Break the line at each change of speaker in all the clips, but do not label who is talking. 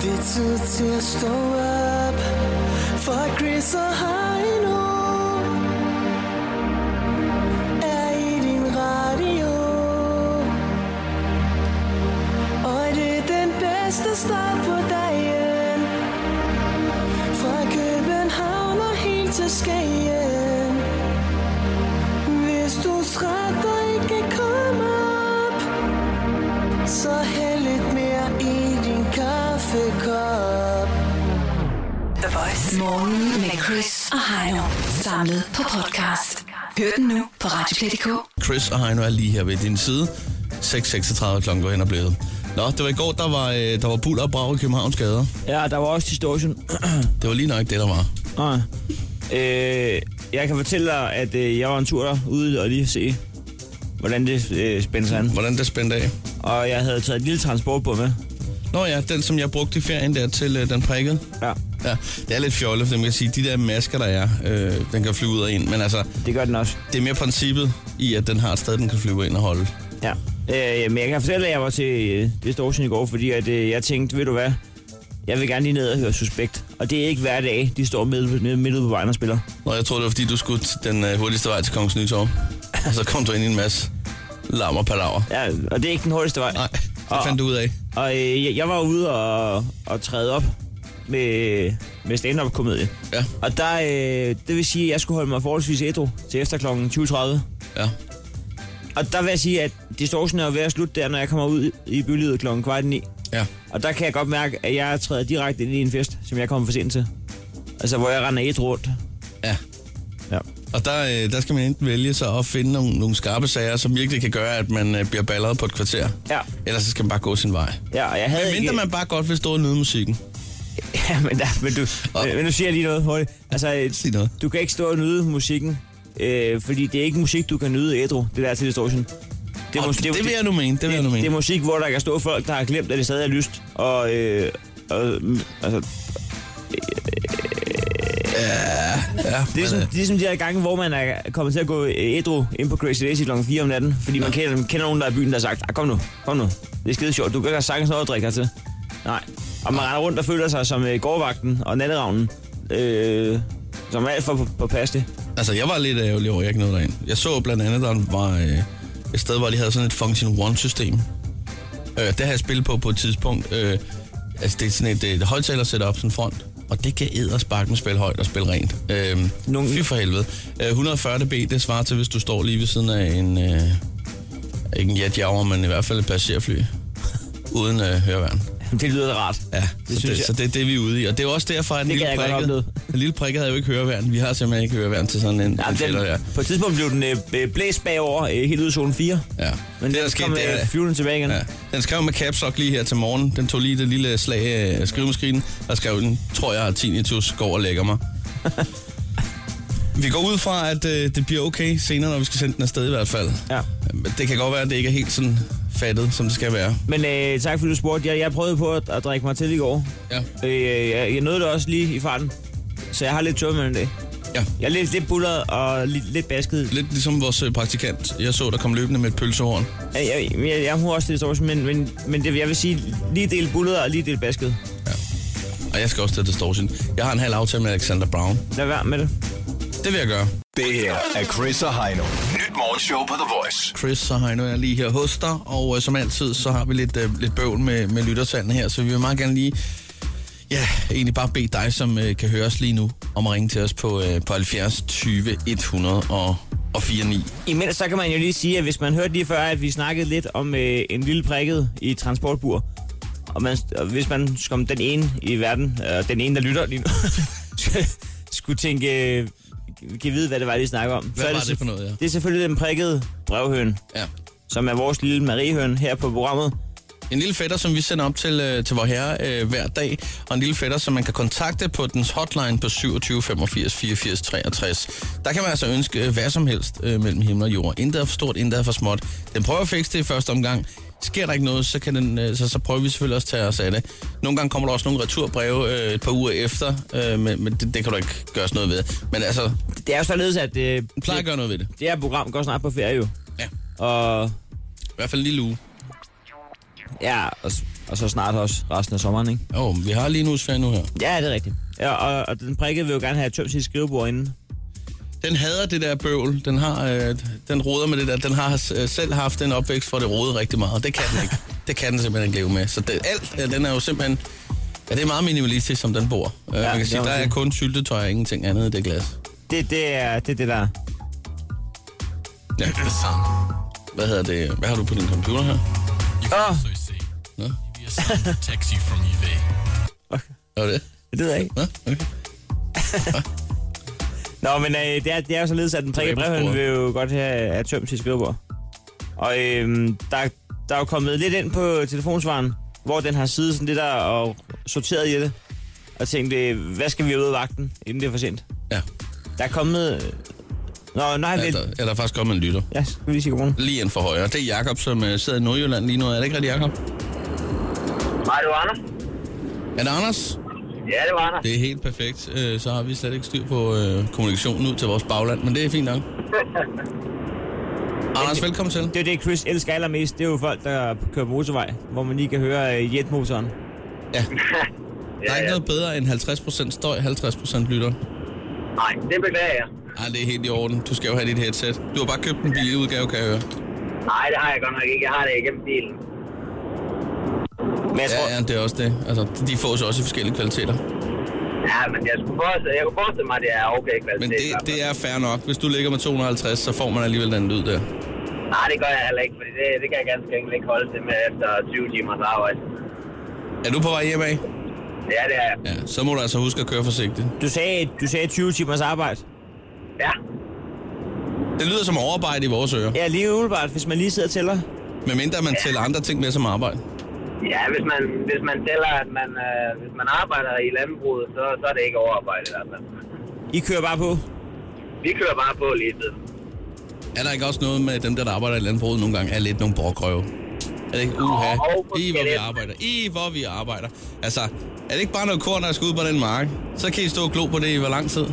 自己 stå op For Chris og Heino Er i din radio Og det er den bedste start på dagen Fra København og helt til Skagen Hvis du er træt og ikke kan komme op Så hæld lidt mere i din kaffekop
The Voice. Morgen med Chris og Heino. Samlet på podcast. Hør den nu på Radioplay.dk.
Chris og Heino er lige her ved din side. 6.36 klokken går hen og blevet. Nå, det var i går, der var, øh, der var buller og brag i Københavns gader.
Ja, der var også distortion.
Det var lige nok det, der var.
Nej. øh, jeg kan fortælle dig, at øh, jeg var en tur derude og lige se, hvordan det øh, spændte sig an.
Hvordan det spændte af.
Og jeg havde taget et lille transport på med.
Nå ja, den som jeg brugte i ferien der til øh, den prikkede.
Ja,
Ja, det er lidt fjollet, for man kan sige, de der masker, der er, øh, den kan flyve ud og ind. Men altså,
det gør den også.
det er mere princippet i, at den har et sted, den kan flyve ind og holde.
Ja. Øh, men jeg kan fortælle, at jeg var til øh, distortion i går, fordi at, øh, jeg tænkte, ved du hvad, jeg vil gerne lige ned og høre Suspekt. Og det er ikke hver dag, de står midt, midt, midt ude på vejen og spiller.
Nå, jeg troede, det var, fordi du skulle t- den øh, hurtigste vej til Kongens Nytorv. Og så kom du ind i en masse larm og palaver.
Ja, og det er ikke den hurtigste vej.
Nej, det fandt du ud af.
Og øh, jeg, jeg var ude og, og træde op med, med stand-up-komedie.
Ja,
Og der, øh, det vil sige, at jeg skulle holde mig forholdsvis ædru til efter kl. 20.30.
ja.
Og der vil jeg sige, at distortion er jo ved at slutte der, når jeg kommer ud i bylivet kl. kvart i ni.
Ja,
Og der kan jeg godt mærke, at jeg træder direkte ind i en fest, som jeg kommer for sent til. Altså, hvor jeg render ædru rundt.
ja.
Ja.
Og der, øh, der skal man enten vælge sig at finde nogle, nogle skarpe sager, som virkelig kan gøre, at man øh, bliver balleret på et kvarter.
Ja,
Ellers så skal man bare gå sin vej.
ja og jeg havde
Men mindre
ikke...
man bare godt vil stå og nyde musikken.
Ja, men, der, men, du,
Og-
men, men nu siger jeg lige noget hurtigt. Altså, øh,
Sig noget.
du kan ikke stå og nyde musikken, øh, fordi det er ikke musik, du kan nyde ædru, det der til distortion. Det,
Og
mus-
det, vil jeg nu mene, det vil jeg nu
det, det er
mene.
musik, hvor der kan stå folk, der har glemt, at det stadig er lyst. Og, øh, og mm, altså,
Ja,
det, er
men,
sådan, det er ligesom de her gange, hvor man er kommet til at gå øh, ædru ind på Crazy Daisy kl. 4 om natten. Fordi man kender, man kender nogen, der er i byen, der har sagt, "Ah, kom nu, kom nu. Det er skide sjovt, du kan sagtens noget at drikke hertil. Nej. Og man render rundt og føler sig som øh, gårdvagten og natteravnen. Øh, som er alt for på, på det.
øh, altså, jeg var lidt ærgerlig over, at jeg ikke nåede derind. Jeg så blandt andet, der var øh, et sted, hvor de havde sådan et Function One-system. Øh, det har jeg spillet på på et tidspunkt. Øh, altså, det er sådan et, et højtaler sætter op sådan front. Og det kan ædersparken spille højt og spille rent. Øh,
Nogle-
Fy for helvede. Øh, 140 dB, det svarer til, hvis du står lige ved siden af en... Øh, ikke en jetjager, men i hvert fald et passagerfly. Uden øh, høreværn.
Det lyder da rart.
Ja,
Det
det så, det,
synes jeg.
så det er det, vi er ude i. Og det er jo også derfor, at en
Det
lille,
kan jeg godt
prikke,
opleve.
en lille prikke havde jo ikke høreværn. Vi har simpelthen ikke høreværn til sådan en, ja, en fælder der.
den, på et tidspunkt blev den øh, øh, blæst bagover øh, helt ud i zone 4.
Ja.
Men det,
det, der
den
skete,
kom
det
øh,
er,
flyvende tilbage igen.
ja. Den skrev med caps lock lige her til morgen. Den tog lige det lille slag af skrivemaskinen, og skrev den, tror jeg, at tinnitus går og lægger mig. vi går ud fra, at øh, det bliver okay senere, når vi skal sende den afsted i hvert fald.
ja.
Men Det kan godt være, at det ikke er helt sådan fattet, som det skal være.
Men øh, tak fordi du spurgte. Jeg, jeg prøvede på at, at drikke mig til i går.
Ja.
Øh, jeg, jeg nåede det også lige i farten. Så jeg har lidt tømme i dag.
ja.
Jeg er lidt, lidt bullet og lidt, lidt basket.
Lidt ligesom vores øh, praktikant, jeg så, der kom løbende med et pølsehorn.
Jeg, jeg, jeg, jeg må også lidt sovs, men, men, men det, jeg vil sige, lige del bullet og lige del basket.
Og jeg skal også til distortion. Jeg har en halv aftale med Alexander Brown.
Lad være med det.
Det vil jeg gøre.
Det her er Chris og Heino. Nyt morgenshow på The Voice.
Chris og Heino er lige her hos dig, og øh, som altid, så har vi lidt, øh, lidt bøvl med, med lyttertallene her, så vi vil meget gerne lige, ja, egentlig bare bede dig, som øh, kan høre os lige nu, om at ringe til os på, øh, på 70 20 100 og, og 49.
Imens så kan man jo lige sige, at hvis man hørte lige før, at vi snakkede lidt om øh, en lille prikket i et transportbur, og, man, og hvis man som den ene i verden, øh, den ene, der lytter lige nu, skulle tænke, øh, kan vide, hvad det var, de snakker om.
Hvad var det for noget, ja?
Det er selvfølgelig den prikkede brevhøn,
Ja.
som er vores lille mariehøn her på programmet.
En lille fætter, som vi sender op til, øh, til vor herre øh, hver dag, og en lille fætter, som man kan kontakte på dens hotline på 27 85 84 63. Der kan man altså ønske øh, hvad som helst øh, mellem himmel og jord. Intet er for stort, intet er for småt. Den prøver at fikse det i første omgang. Sker der ikke noget, så, kan den, øh, så, så prøver vi selvfølgelig også at tage os af det. Nogle gange kommer der også nogle returbreve øh, et par uger efter, øh, men, men det, det kan du ikke gøres noget ved. Men altså,
Det er jo således, at øh,
den plejer at gøre noget ved det.
det her program går snart på ferie jo.
Ja.
Og
I hvert fald en lille uge.
ja, og s- Og så snart også resten af sommeren, ikke?
Jo, men vi har lige en udsfærd nu her.
Ja, det er rigtigt. Ja, og, og den prikkede vil jo gerne have tømt sit skrivebord inden.
Den hader det der bøvl. Den, har, øh, den roder med det der. Den har øh, selv haft en opvækst, hvor det rodede rigtig meget. og Det kan den ikke. Det kan den simpelthen ikke leve med. Så det, alt, øh, den er jo simpelthen... Ja, det er meget minimalistisk, som den bor. Øh, ja, man kan
det
sige,
må
der
man
er
sige.
kun syltetøj og ingenting andet i det glas.
Det, det, er, det er det, der er.
Ja. Hvad hedder det? Hvad har du på din computer her?
Åh,
So you see,
Nå,
your son texts you from UV.
hvad var det?
det ved jeg ikke.
Nå, okay.
Nå, men øh, det, er, det er jo således, at den prikkede
Tilbage på
brevhøn
sporet.
vil jo godt have, have tømt sit skrivebord. Og øhm, der, der er jo kommet lidt ind på telefonsvaren, hvor den har siddet sådan lidt der og sorteret i det. Og tænkt, øh, hvad skal vi ud af vagten, inden det er for sent?
Ja,
Der er kommet... øh, Nå, nej,
ja
vel...
der, ja, der er faktisk kommet en lytter.
Ja, skal vi lige sige godmorgen.
Lige ind for højre. Det er Jakob, som øh, sidder i Nordjylland lige nu. Er det ikke rigtigt, Jakob?
Nej, det var Anders.
Er det Anders?
Ja, det var Anders.
Det er helt perfekt. Øh, Så har vi slet ikke styr på øh, kommunikationen ud til vores bagland, men det er fint nok. Anders, velkommen til.
Det er jo det, Chris elsker allermest. Det er jo folk, der kører på motorvej, hvor man lige kan høre øh, jetmotoren.
Ja, der
Ja,
er ikke
ja.
noget bedre end 50% støj, 50% lytter.
Nej, det beklager jeg.
Nej, det er helt i orden. Du skal jo have dit headset. Du har bare købt en billig udgave, kan jeg høre.
Nej, det har jeg godt nok ikke. Jeg har det igennem bilen.
Men jeg tror,
Ja, ja, det er også det. Altså, de fås også i forskellige kvaliteter.
Ja, men jeg, skulle forestille, jeg kunne forestille mig, at det er okay kvalitet.
Men det, det er fair nok. Hvis du ligger med 250, så får man alligevel den lyd der.
Nej, det gør jeg heller ikke, fordi det, det kan jeg ganske enkelt ikke holde til med efter 20 timers arbejde.
Er du på vej hjem af?
Ja, altså, det er jeg.
Ja, så må du altså huske at køre forsigtigt.
du sagde, du sagde 20 timers arbejde.
Ja,
Det lyder som overarbejde i vores ører.
Ja, lige umiddelbart, hvis man lige sidder og tæller.
Medmindre man tæller andre ting med som arbejde.
ja hvis, man, hvis man tæller, at man, øh, hvis man arbejder i landbruget, så, så er det ikke overarbejde i hvert fald.
I kører bare på.
Vi kører bare på lige tid.
Er der ikke også noget med dem, der, der arbejder i landbruget nogle gange, er lidt nogle brokrøve? Er det ikke uha?
Åh, hvor
I hvor vi
skal det?
arbejder. I hvor vi arbejder. Altså, er det ikke bare noget korn, der skal ud på den mark? Så kan I stå og glo på det i hvor lang tid?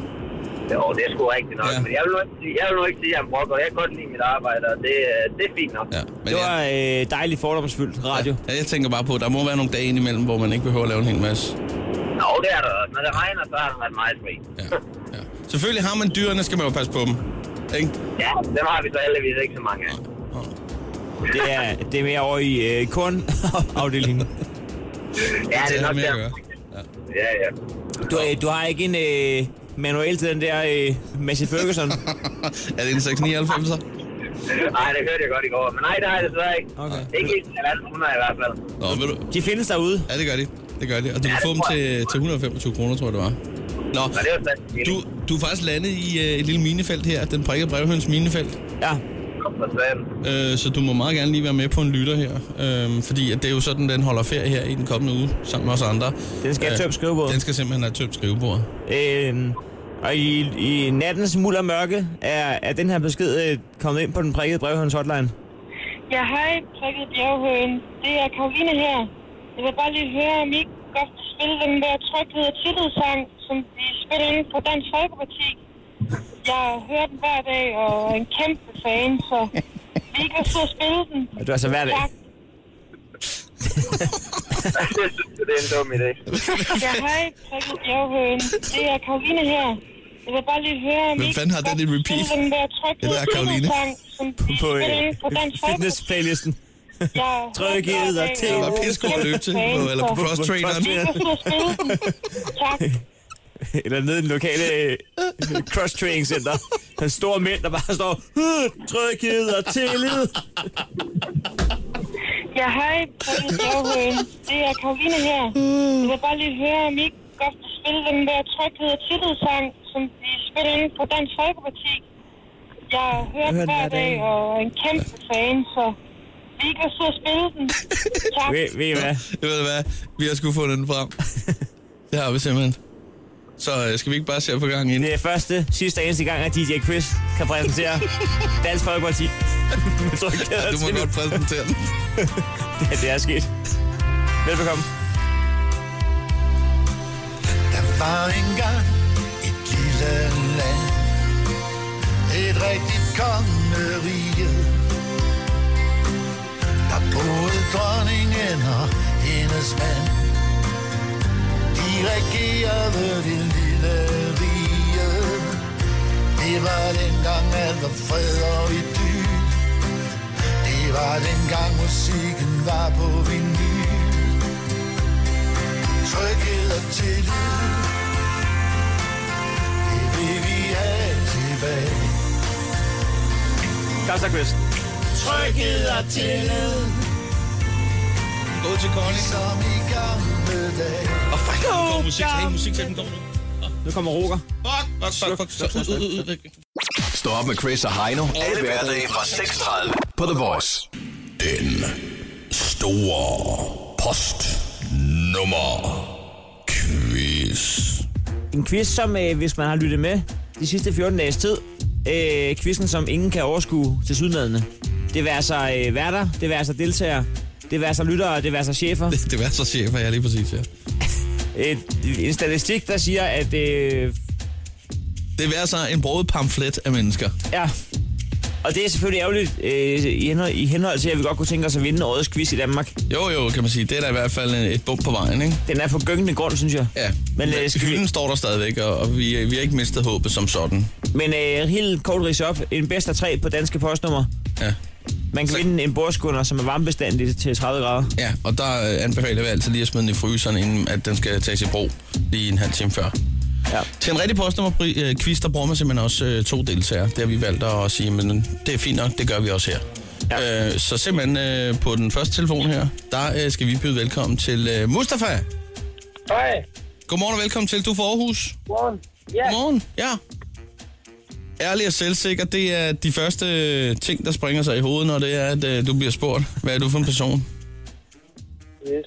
Jo, det er sgu rigtigt nok.
Ja.
Ja. Men jeg vil, nu ikke, sige- jeg vil nu ikke sige, at jeg er en brokker. Jeg kan godt lide mit arbejde, og det, øh, det er fint nok.
Ja, men
Det var øh, dejligt fordomsfyldt radio.
jeg, ja, jeg tænker bare på, at der må være nogle dage indimellem, hvor man ikke behøver at lave en hel masse.
Nå, det er der også. Når det regner, så har det været meget fri.
Ja, ja. Selvfølgelig har man dyrene, skal man jo passe på dem. Ikke?
Ja, dem har vi så heldigvis ikke så mange af.
Det er, det er mere over i øh, kornafdelingen.
Ja, det
Det
er
har
nok
med at
der.
gøre.
Ja, ja.
Du, øh, du har ikke en øh, manual til den der øh, Massey Ferguson?
er det en 699?
Nej, det hørte jeg godt i går. Men nej, det har jeg desværre ikke.
Okay.
Ikke i alle 100 i hvert fald.
Nå, ved du,
De findes derude.
Ja, det gør de. Det gør de. Og du kan
det
få dem
tror
til, til 125 kroner, tror jeg, det var. Nå,
Og det var sandt.
du, du er faktisk landet i øh, et lille minefelt her, den prikkede brevhøns minefelt.
Ja.
Kom for sand.
Øh, så du må meget gerne lige være med på en lytter her. Øh, fordi at det er jo sådan, den holder ferie her i den kommende uge, sammen med os andre.
Den skal have tømt skrivebordet.
Den skal simpelthen have tømt skrivebordet.
Øh, og i, i nattens muld og mørke er, er den her besked øh, kommet ind på den prikkede brevhøns hotline.
Ja, hej, prikket bjerghøen. Det er Karoline her. Jeg vil bare lige høre, om I ikke godt vil spille den der tryghed og tillidssang, som de spiller inde på Dansk Folkeparti. Jeg hører den hver dag og er en kæmpe fan, så vi ikke vil sidde og spille den.
Og du er altså hver dag.
Tak.
det er en dum idé.
Ja, hej, prikket bjerghøen. Det er Karoline her. Jeg vil bare lige høre, om I
Hvem
ikke
fanden har
godt
den i
vil
repeat?
spille den der tryghed
Det
og
er Caroline.
tillidssang, som de
På
spiller inde på
øh,
Dansk Folkeparti.
fitness-playlisten.
Jeg hører den hver
Trykket og
dag
til.
Det
og
var
er en
pisse god at
kæmpe
løbe til,
fan,
på, eller på
så-
cross-traineren.
Vi kan sidde og spille den. Tak.
Eller nede i den lokale øh, cross-training center. Den store mænd, der bare står, "Øh, tryghed og tillid.
Ja, hej, Patrick Bjerghøen. Det er Karoline her. Jeg vil bare lige høre, om I ikke godt vil spille den der tryghed og tillidssang, som de spiller inde på Dansk Folkeparti. Jeg hører den hver dag og er en kæmpe fan, så vi kan sidde og spille den. Tak.
Ved, ved I hvad?
Jeg ved hvad, vi har sgu fundet den frem. det har vi simpelthen. Så øh, skal vi ikke bare se på gang ind?
Det er første, sidste og eneste gang, at DJ Chris kan præsentere Dansk Folkeparti. med tryghed og
Du må
tillid.
godt præsentere den.
Ja, det er sket. Velbekomme.
Der var engang et lille land, et rigtigt kongerige. Der boede dronningen og
hendes mand. De regerede det lille rige. Det var dengang alt var fred og idyl. Det var dengang musikken var på vinyl. Tryghed og tillid. Det vil vi have tilbage.
Kom så, Chris.
Tryghed og tillid.
Gå til Connie.
Som i gamle dage.
Og fuck, der er god musik til. Hey, musik til den går nu.
Nu kommer Roger.
Fuck, fuck, fuck, fuck. Så ud, ud, ud, ud.
Stå op med Chris og Heino. Alle hverdage fra 6.30 på The Voice.
Den store post nummer quiz.
En quiz, som øh, hvis man har lyttet med de sidste 14 dages tid, øh, quizzen, som ingen kan overskue til sydnadende. Det vil altså øh, værter, det vil altså deltagere, det vil altså lyttere, det vil altså chefer.
Det, det var så chef, jeg lige præcis, ja.
Øh, en statistik, der siger, at øh,
Det var så en broget pamflet af mennesker.
Ja. Og det er selvfølgelig ærgerligt øh, i, henhold, i henhold til, at vi godt kunne tænke os at vinde årets quiz i Danmark.
Jo, jo, kan man sige. Det er da i hvert fald øh, et bump på vejen, ikke?
Den er på gyngende grund, synes jeg.
Ja,
Men,
men
øh, skal vi-
hylden står der stadigvæk, og, og vi, øh, vi har ikke mistet håbet som sådan.
Men øh, helt kort rids op. En bedst af tre på danske postnummer.
Ja,
Man kan
Så-
vinde en bordskunder, som er varmebestandig til 30 grader.
ja og der øh, anbefaler vi altid lige at smide den i fryseren, inden at den skal tages i brug lige en halv time før.
Ja.
Til en rigtig postnummer-quiz, der bruger man simpelthen også øh, to deltagere. Det har vi valgt at sige, men det er fint nok, det gør vi også her. Ja. Øh, så simpelthen øh, på den første telefon her, der øh, skal vi byde velkommen til øh, Mustafa.
Hej.
Godmorgen og velkommen til. Du er fra Aarhus.
Godmorgen. Ja,
Godmorgen. Ja. Ærlig og selvsikker, det er de første øh, ting, der springer sig i hovedet, når det er, at øh, du bliver spurgt. Hvad er du for en person?
yes.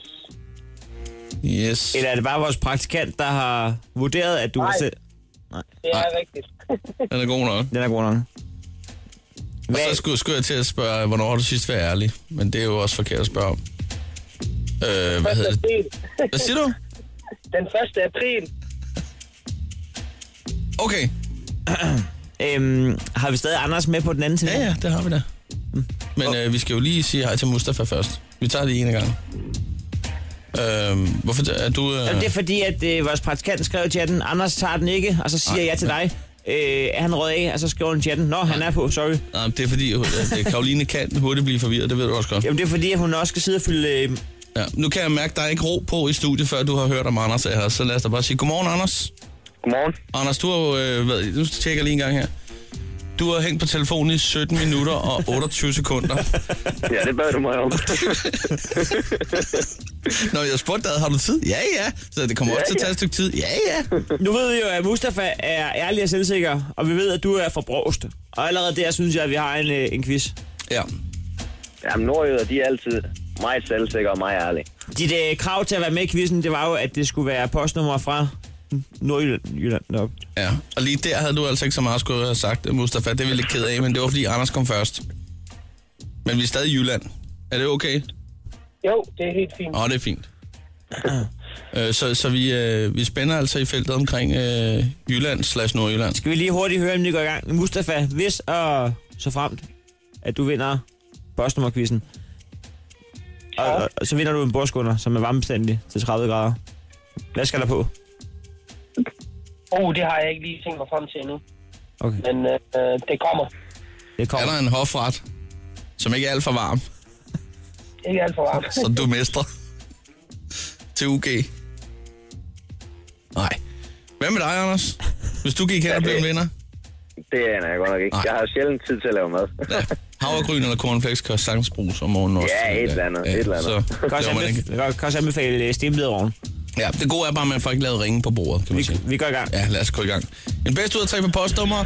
Yes.
Eller er det bare vores praktikant, der har vurderet, at du
Nej.
er selv...
Det er
Nej.
rigtigt.
Den er god nok.
Den er god nok.
Og
Hvad,
så skulle, skulle jeg til at spørge, hvornår har du sidst været ærlig? Men det er jo også forkert at spørge om. Øh, hvad hedder det?
april.
Hvad siger du?
Den 1. april.
Okay.
øhm, har vi stadig Anders med på den anden side?
Ja, ja, det har vi da.
Mm.
Men øh, vi skal jo lige sige hej til Mustafa først. Vi tager det ene gang. Øh, hvorfor er du... Øh...
Jamen, det er fordi, at øh, vores praktikant skrev i chatten, Anders tager den ikke, og så siger jeg til dig, øh, er han rød af, og så skriver han i chatten, nå, han er på, sorry.
Nej, men det er fordi, at øh, Karoline kan hurtigt blive forvirret, det ved du også godt.
Jamen, det er fordi, at hun også skal sidde og fylde... Øh,
Ja, nu kan jeg mærke, at der er ikke ro på i studiet, før du har hørt om Anders er her. Så lad os da bare sige godmorgen, Anders.
Godmorgen.
Anders, du har jo øh, været... Nu tjekker jeg lige en gang her. Du har hængt på telefonen i 17 minutter og 28 sekunder.
Ja, det bad du mig om.
Når jeg spurgte dig, har du tid? Ja, ja. Så det kommer også til at tage et stykke tid. Ja, ja.
nu ved vi jo, at Mustafa er ærlig og selvsikker, og vi ved, at du er fra Brogst. Og allerede der synes jeg, at vi har en, øh, en quiz.
Ja.
Jamen, nordjyder, de er altid meget selvsikre og meget ærlige.
Dit øh, krav til at være med i quizzen, det var jo, at det skulle være postnummer fra Nordjylland. Nå.
Ja, og lige der havde du altså ikke så meget skulle have sagt, Mustafa. Det er vi lidt ked af, men det var fordi Anders kom først. Men vi er stadig i Jylland. Er det okay?
Jo, det er helt fint.
Åh, oh, det er fint. øh, så så vi, øh, vi spænder altså i feltet omkring øh, Jylland slash Nordjylland.
Skal vi lige hurtigt høre, om det går i gang? Mustafa, hvis og så fremt, at du vinder postnummerquizzen, og, og, og, så vinder du en bordskunder, som er varmebestandig til 30 grader. Hvad skal der på?
Åh, oh, det har jeg ikke lige tænkt mig frem til endnu.
Okay,
Men øh, det kommer.
det
Er
kommer.
der en hofret, som ikke er alt for varm,
Ikke alt for varmt.
som du mestrer til UG? Nej. Hvad med dig, Anders? Hvis du gik her og blev en vinder?
Det aner jeg godt nok ikke.
Nej.
Jeg har sjældent tid til at lave mad.
Ja. Havregryn eller cornflakes kan også sagtens bruges om morgenen også.
Ja, et eller andet, et eller andet.
Så,
Kan også
det var man ikke.
anbef- kan- kan også anbefale øh, stenbederovn.
Ja, det gode er bare, at man får ikke lavet ringe på bordet, kan man
Vi,
sige.
vi går i gang.
Ja, lad os gå i gang. En bedst ud af tre på postnummer.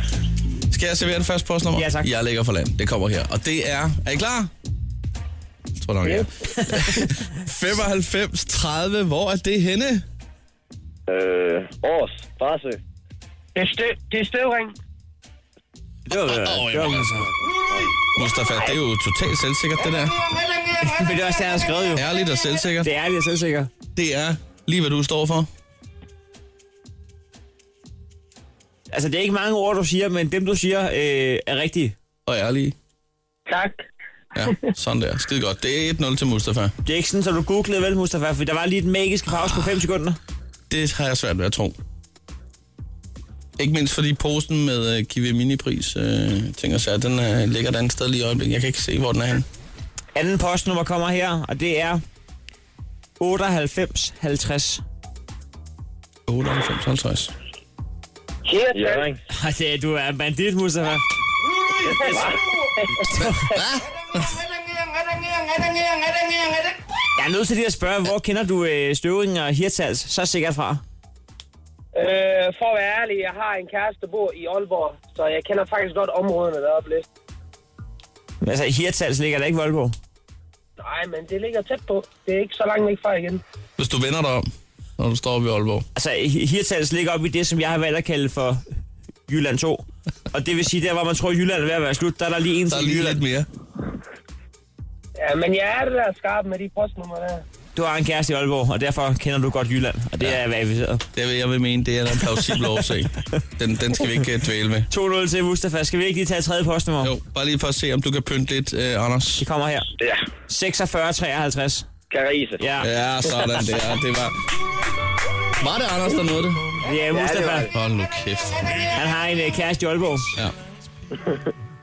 Skal jeg servere det første postnummer?
Ja, tak.
Jeg lægger for land. Det kommer her. Og det er... Er I klar? Jeg tror nok, jeg er. 95 30. Hvor er det henne?
Øh, Års, Barsø. Det er, støv, det er støvring.
Det var, det var,
Mustafa, det er jo totalt selvsikkert, det der.
men det var også det, jeg har skrevet jo.
Ærligt og selvsikkert.
Det er ærligt og selvsikker.
Det er lige, hvad du står for.
Altså, det er ikke mange ord, du siger, men dem, du siger, øh, er rigtige.
Og ærlige.
Tak.
Ja, sådan der. Skide godt. Det er 1-0 til Mustafa.
Det er ikke sådan, så du googlede vel, Mustafa, for der var lige et magisk pause på 5 sekunder.
Det har jeg svært ved at tro. Ikke mindst fordi posen med øh, Kiwi Mini-pris, øh, tænker sig, den øh, ligger et andet sted lige i øjeblikket. Jeg kan ikke se, hvor den er henne.
Anden postnummer kommer her, og det er 9850.
98, 50.
Cheers, ja,
Ej, det er, du er en bandit, Mustafa. Jeg er nødt til lige at spørge, hvor kender du øh, Støvring og Hirtals så sikkert fra?
øh, For at være ærlig, jeg har en kæreste, der bor i Aalborg, så jeg kender faktisk godt områderne deroppe lidt.
Altså, Hirtals ligger der ikke i Voldborg.
Nej, men det ligger tæt på. Det er ikke så langt væk fra igen.
Hvis du vender dig om, når du står oppe i Aalborg.
Altså, Hi- Hirtals ligger op i det, som jeg har valgt at kalde for Jylland 2. Og det vil sige, der hvor man tror, Jylland er ved at være slut, der er der lige en
Der er
til
lige
Jylland.
lidt mere.
Ja, men jeg er der skarp med de postnumre der.
Du har en kæreste i Aalborg, og derfor kender du godt Jylland. Og det ja. er verificeret.
Det vil jeg vil mene, det er en plausibel årsag. Den, den skal vi ikke øh, dvæle med.
2-0 til Mustafa. Skal vi ikke lige tage tredje postnummer?
Jo, bare lige for at se, om du kan pynte lidt, øh, Anders.
Det kommer her.
Ja,
46-53.
Carise.
Ja, ja.
Ja, sådan der. Det var... Var det Anders, der nåede det?
ja Mustafa.
var
Ja,
det.
Hold nu kæft.
han har en øh, kæreste i Aalborg.
Ja.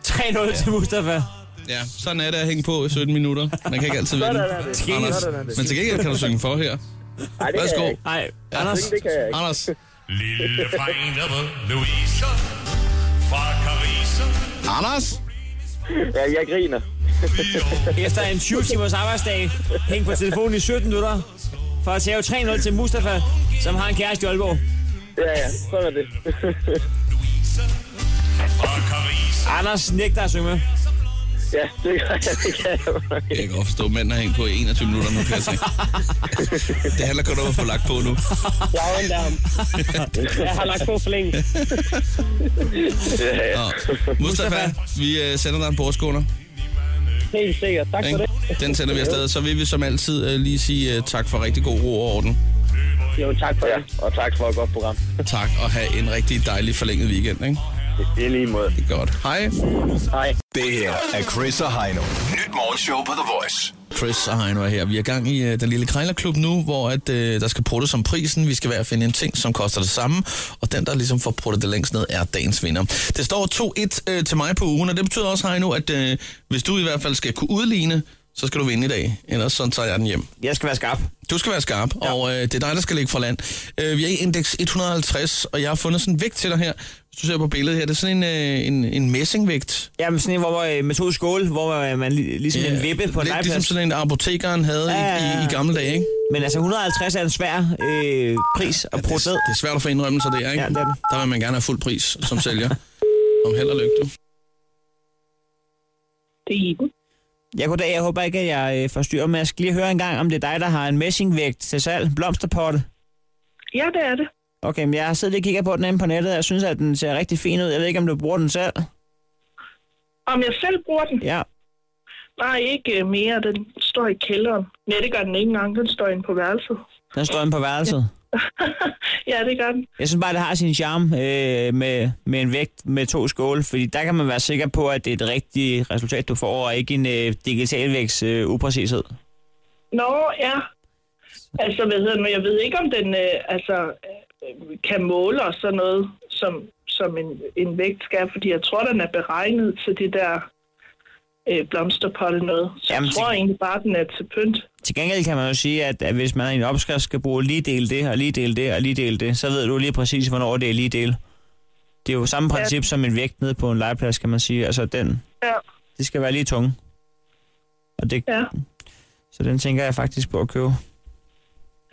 3-0 til Mustafa.
ja, sådan er det at hænge på i 17 minutter. Man kan ikke altid vinde. Anders. Men til gengæld kan du synge for her. Værsgo.
Nej, Anders.
Det kan jeg ikke.
Anders,
Lille Fregnere Louise fra Carise.
Anders,
Ja, jeg griner.
Efter en 20 timers arbejdsdag, hæng på telefonen i 17 minutter, for at tage 3-0 til Mustafa, som har en kæreste i Aalborg.
Ja, ja, sådan er det.
Fra Carise.
Anders nægter at synge med.
ja, det kan jeg, det kan jeg.
jeg kan godt forstå, at mænd har hængt på i 21 minutter nu, kan jeg se. Det handler kun om at få lagt på nu.
Jeg afventer ham. Jeg har lagt på for længe.
Nå. Mustafa, vi øh, sender dig en bordskåner.
Helt sikkert. Tak for det.
Den sender vi afsted. Så vil vi som altid øh, lige sige øh, tak for rigtig god ro og orden.
Jo, tak for det. Og tak for et godt program.
Tak, og have en rigtig dejlig forlænget weekend, ikke?
Det er lige måde.
Det er godt. Hej.
Hej.
Det her er Chris og Heino. Nyt morgenshow på The Voice.
Chris og Heino er her. Vi er i gang i øh, den lille krejlerklub nu, hvor at, øh, der skal pruttes om prisen. Vi skal hver finde en ting, som koster det samme. Og den, der ligesom får pruttet det længst ned, er dagens vinder. Det står 2-1 øh, til mig på ugen, og det betyder også, Heino, at øh, hvis du i hvert fald skal kunne udligne, så skal du vinde i dag. Ellers så tager jeg den hjem.
Jeg skal være skarp.
Du skal være skarp, ja. og øh, det er dig, der skal ligge for land. Øh, vi er i indeks 150, og jeg har fundet sådan en vægt til dig her. Hvis du ser på billedet her, det er sådan en, øh, en, en messingvægt.
Jamen sådan en, hvor, hvor, øh, med to skåle, hvor øh, man li- ligesom en vippe på en
Lidt
legeplads.
ligesom sådan en apotekeren havde ja, ja, ja. I, i, i gamle dage, ikke?
Men altså 150 er en svær øh, pris at bruge
Det,
ned.
det er svært at få indrømmelser der, ikke?
Ja, det er det.
Der vil man gerne have fuld pris som sælger. Om held og lykke, du.
Det er Iben.
Jeg goddag, jeg håber ikke, at jeg øh, forstyrrer, men jeg skal lige høre en gang, om det er dig, der har en messingvægt til salg, blomsterpotte.
Ja, det er det.
Okay, men jeg har siddet lige og kigget på den inde på nettet, og jeg synes, at den ser rigtig fin ud. Jeg ved ikke, om du bruger den selv.
Om jeg selv bruger den?
Ja,
Nej, ikke øh, mere. Den står i kælderen. Nej, det gør den ikke engang. Den står inde på værelset.
den står inde på værelset.
ja, det gør den.
Jeg synes bare, det har sin charme øh, med, med en vægt med to skåle, fordi der kan man være sikker på, at det er et rigtigt resultat, du får, og ikke en øh, digital vægts øh, upræcished.
Nå, ja. Altså, hvad hedder den? Jeg ved ikke, om den øh, altså, øh, kan måle og sådan noget, som, som en, en vægt skal, fordi jeg tror, den er beregnet til det der øh, blomsterpotte noget. Så
Jamen,
jeg tror
det-
egentlig bare, den er til pynt.
Til gengæld kan man jo sige, at, at hvis man i en opskrift skal bruge lige del det, og lige del det, og lige del det, så ved du lige præcis, hvornår det er lige del. Det er jo samme princip som en vægt nede på en legeplads, kan man sige. Altså, den,
Ja,
det skal være lige tunge. Og det,
ja,
Så den tænker jeg faktisk på at købe.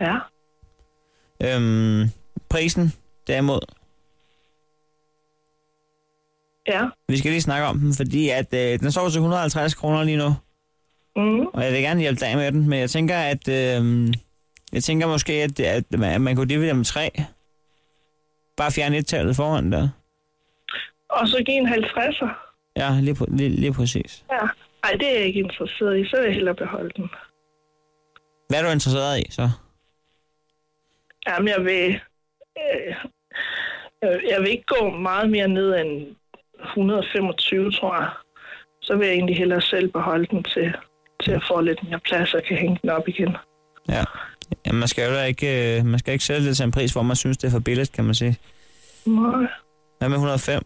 ja.
Øhm, prisen, derimod,
ja.
vi skal lige snakke om den, fordi at, øh, den står til 150 kroner lige nu.
Mm.
Og jeg vil gerne hjælpe dig med den, men jeg tænker, at... Øh, jeg tænker måske, at, at man, at man kunne dividere med tre. Bare fjerne et tallet foran der.
Og så give en 50'er.
Ja, lige, på, lige, lige præcis.
Ja. Ej, det er jeg ikke interesseret i. Så vil jeg hellere beholde den.
Hvad er du interesseret i, så?
Jamen, jeg vil... Øh, øh, jeg vil ikke gå meget mere ned end 125, tror jeg.
så vil jeg egentlig hellere selv beholde den til, til at få lidt mere plads og kan hænge den op igen.
Ja. ja man skal jo da ikke, øh, man skal ikke sælge det til en pris, hvor man synes, det er for billigt, kan man sige.
Nej,
Hvad med 105?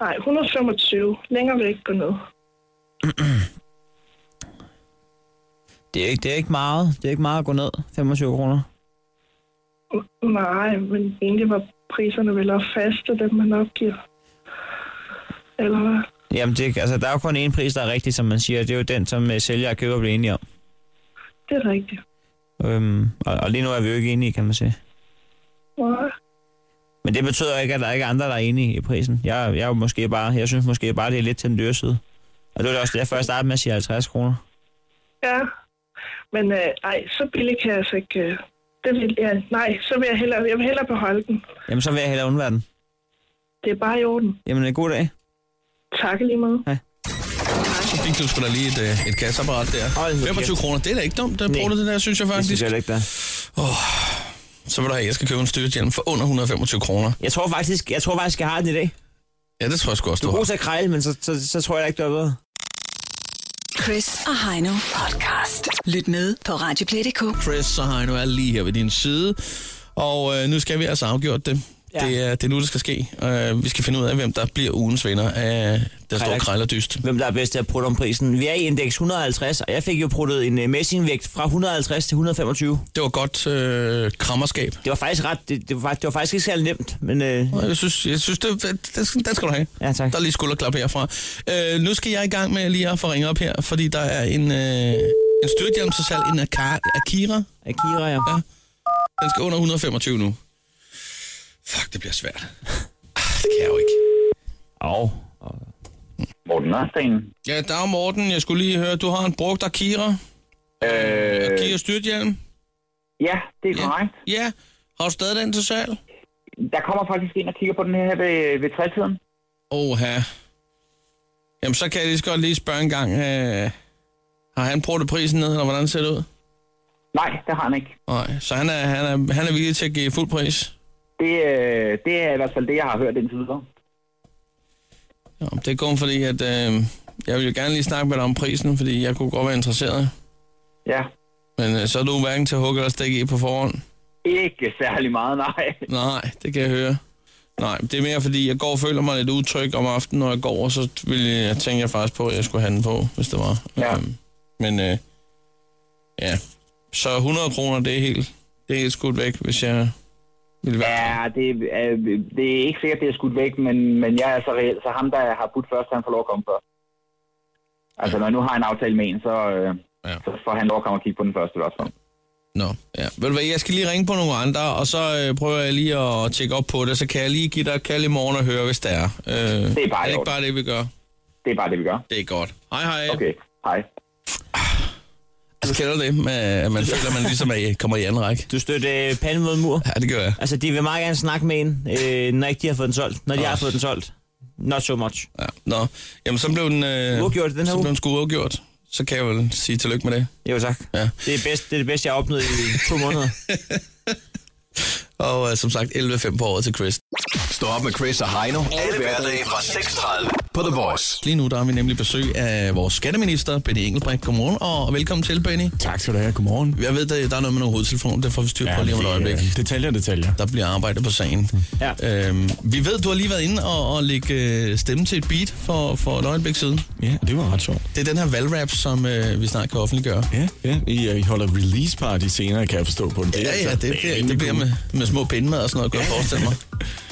nej 125. Længere vil jeg ikke gå ned.
Det er, ikke, det er ikke meget. Det er ikke meget at gå ned. 25 kroner.
Nej, men egentlig var priserne vel også faste, dem man opgiver. Eller hvad?
Jamen, det, altså, der er jo kun én pris, der er rigtig, som man siger. Det er jo den, som øh, sælger og køber bliver enige om.
Det er rigtigt.
Øhm, og, og, lige nu er vi jo ikke enige, kan man sige.
Nej.
Men det betyder ikke, at der ikke er andre, der er enige i prisen. Jeg, jeg, er jo måske bare, jeg synes måske bare, det er lidt til den dyre side. Og det var da også derfor, jeg startede med at sige 50 kroner.
Ja, men øh, ej, så billigt kan jeg altså ikke... Øh, det vil jeg, nej, så vil jeg hellere, jeg vil hellere beholde den.
Jamen, så vil jeg hellere undvære den.
Det er bare i orden.
Jamen, en god dag.
Tak i lige meget.
Så fik du sgu da lige et, øh, et kasseapparat der.
Hold nu
25
kæft.
kroner, det er da ikke dumt, der
Nej.
bruger du det der, synes jeg
Det synes
faktisk.
jeg heller ikke, der er.
Så vil du have, at jeg skal købe en styrhjelm for under 125 kroner.
Jeg tror faktisk, jeg tror faktisk, jeg har den i dag.
Ja, det tror jeg sgu også,
Du
du
er
har.
god til at krejle, men så, så, så tror jeg da ikke, du har bedre.
Chris og Heino podcast. Lyt med på Radioplay.dk.
Chris så har jeg nu er lige her ved din side. Og øh, nu skal vi altså afgjort det. Ja.
Ja.
Det, er, det er nu, det skal ske. Øh, vi skal finde ud af, hvem der bliver ugens vinder af Der står
Krejler-
krejlerdyst.
Hvem der er bedst til at prutte om prisen. Vi er i indeks 150, og jeg fik jo pruttet en øh, messingvægt fra 150 til 125.
Det var godt øh, krammerskab.
Det var faktisk ret, det, det, var, faktisk- det var faktisk ikke særlig nemt, men øh,
Og Jeg synes, jeg synes det, det, det, skal- den skal du have.
ja tak.
Der er lige skulderklap herfra. Øh, nu skal jeg i gang med lige at få ringet op her, fordi der er en, øh, en styrthjelm til salg, en Aka- Akira.
Akira, ja.
Ja. Den skal under 125 nu. Fuck, det bliver svært. Ah, Det kan jeg jo ikke.
Au.
Morten Nørsten.
Ja, dag Morten. Jeg skulle lige høre, du har en brugt Akira.
Øh,
Akira styrthjelm.
ja, det er
Ja.
korrekt.
Ja. Har du stadig den til salg?
Der kommer faktisk en og kigger på den her ved, ved trætiden.
Oha. Jamen, så kan jeg lige så godt lige spørge en gang. Øh, har han brugt prisen ned, eller hvordan ser det ud?
Nej, det har han ikke.
Nej, så han er, han, er, han er villig til at give fuld pris.
Det, øh, det er i hvert fald det, jeg har hørt indtil videre.
Ja, det er kun fordi, at øh, jeg vil jo gerne lige snakke med dig om prisen, fordi jeg kunne godt være interesseret.
Ja,
Men øh, så er du hverken til at hugge eller stikke i på forhånd.
ikke særlig meget, nej.
Nej, det kan jeg høre. Nej, det er mere fordi, jeg går og føler mig lidt utryg om aftenen, når jeg går, og så ville jeg, jeg tænker jeg faktisk på, at jeg skulle have den på, hvis det var.
Ja.
Øhm, men øh, ja, så 100 kroner, det er helt, det er helt skudt væk, hvis jeg ville være.
Ja, det, øh, det er ikke sikkert, det er skudt væk, men, men jeg er så reelt, så ham, der har budt først, han får lov at komme først. Altså, når jeg nu har en aftale med en, så, øh,
Ja.
ja. så får han lov at komme og kigge på den første i hvert fald.
Nå, ja. Ved du hvad, jeg skal lige ringe på nogle andre, og så øh, prøver jeg lige at tjekke op på det, så kan jeg lige give dig et kald i morgen og høre, hvis det er. Øh, det er
i
det ikke
orden.
bare det, vi gør?
Det er bare det, vi gør.
Det er godt. Hej hej.
Okay, hej.
Du kender det, med, at man føler, at man ligesom er, kommer i anden række.
Du stødte øh, panden mod en mur.
Ja, det gør jeg.
Altså, de vil meget gerne snakke med en, øh, når ikke de har fået den solgt. Når de
Åh.
har fået den solgt. Not so much.
Ja, nå. Jamen, så blev den... Øh,
Uafgjort i den her
så
uge.
blev den sgu uafgjort. Så kan jeg vel sige tillykke med det.
Jo tak.
Ja.
Det, er bedst, det er det bedste, jeg har opnået i to måneder.
Og øh, som sagt, 11.5 på året til Chris.
Stå op med Chris og Heino. Alle hverdage fra 6.30 på The Voice.
Lige nu, der har vi nemlig besøg af vores skatteminister, Benny Engelbrecht. Godmorgen, og velkommen til, Benny.
Tak skal du have. Godmorgen.
Jeg ved, at der er noget med nogle hovedtelefoner, det får vi styr på lige om et øjeblik.
øh, Detaljer, detaljer.
Der bliver arbejdet på sagen.
Mm.
Ja.
Øhm, vi ved, du har lige været inde og, og lægge øh, stemme til et beat for, for et øjeblik siden.
Ja, det var ret sjovt.
Det er den her valgrap, som øh, vi snart kan offentliggøre.
Ja, ja. I, øh, I holder release party senere, kan jeg forstå på Altså, den.
Ja, ja, det, Altså, det, det bliver med, med små pindemad og sådan noget, kunne jeg forestille mig.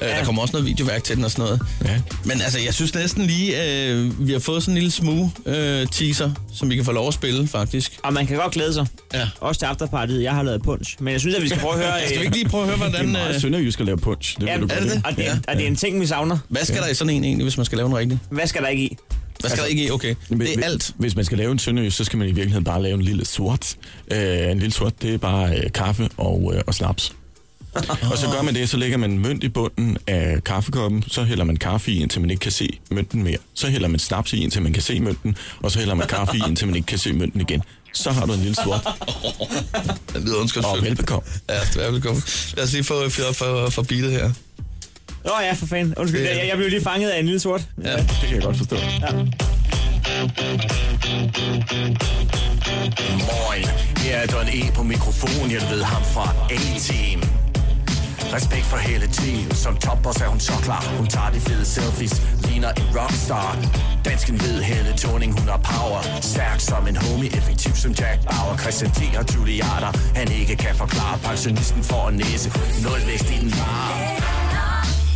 Øh, der kommer også noget videoværk til den og sådan noget.
Ja.
Men altså, jeg synes næsten lige, øh, vi har fået sådan en lille smue øh, teaser, som vi kan få lov at spille, faktisk.
Og man kan godt glæde sig.
Ja.
Også til afterpartiet. Jeg har lavet punch. Men jeg synes, at vi skal prøve at høre...
Skal vi
øh,
ikke lige prøve at høre,
Det er
hvordan...
meget
Øh,
sønderjysk at lave punch. Det vil
Jamen,
du
er
det det?
Og det,
Ja.
er, og det er en ting, vi savner.
hvad skal der i sådan en egentlig, hvis man skal lave en rigtig?
Hvad skal der ikke i?
Hvad skal der ikke i? Okay, det er alt.
Hvis man skal lave en sønderjysk, så skal man i virkeligheden bare lave en lille sort. Øh, en lille sort, det er bare øh, kaffe og, øh, og snaps. og så gør man det, så lægger man mønt i bunden af kaffekoppen, så hælder man kaffe i, indtil man ikke kan se mønten mere. Så hælder man snaps i, indtil man kan se mønten, og så hælder man kaffe i, indtil man ikke kan se mønten igen. Så har du en lille sort,
Det lyder
og
ondskabsfuldt.
velbekomme.
Ja, velkommen. Lad os lige få fyret op for, for beatet her.
Nå ja, for fanden. Undskyld,
Det-
jeg, jeg blev lige fanget af en lille sort.
Ja, det kan jeg godt forstå.
Ja.
Moin, her er Don E på mikrofon, jeg ved ham fra A-Team. Respekt for hele team, som topboss er hun så klar. Hun tager de fede selfies, ligner en rockstar. Dansken ved hele toning, hun har power. Stærk som en homie, effektiv som Jack Bauer. Christian T. og Juliater, han ikke kan forklare. Pensionisten får en næse, nul vækst i den bare.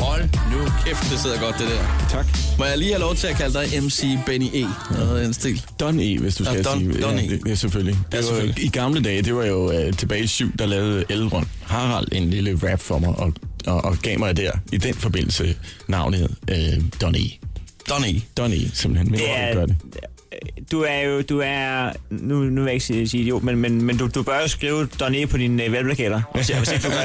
Hold nu kæft, det sidder godt, det der.
Tak.
Må jeg lige have lov til at kalde dig MC Benny E? Noget af den stil.
Don E, hvis du
Nå,
skal
Don-
sige.
Don E.
ja, det- ja, selvfølgelig. Det
Ja,
var,
selvfølgelig.
I gamle dage, det var jo øh, tilbage i syv, der lavede Elrond Harald en lille rap for mig, og, og, og gav mig der i den forbindelse navnet øh, Don E.
Don E.
Don E, simpelthen. Men
Det
det
er- øh,
gør det.
Du er jo, du er, nu, nu vil jeg ikke sige sige idiot, men, men, men du, du bør jo skrive Donné på dine øh, valgplakater, hvis, jeg- hvis ikke du gør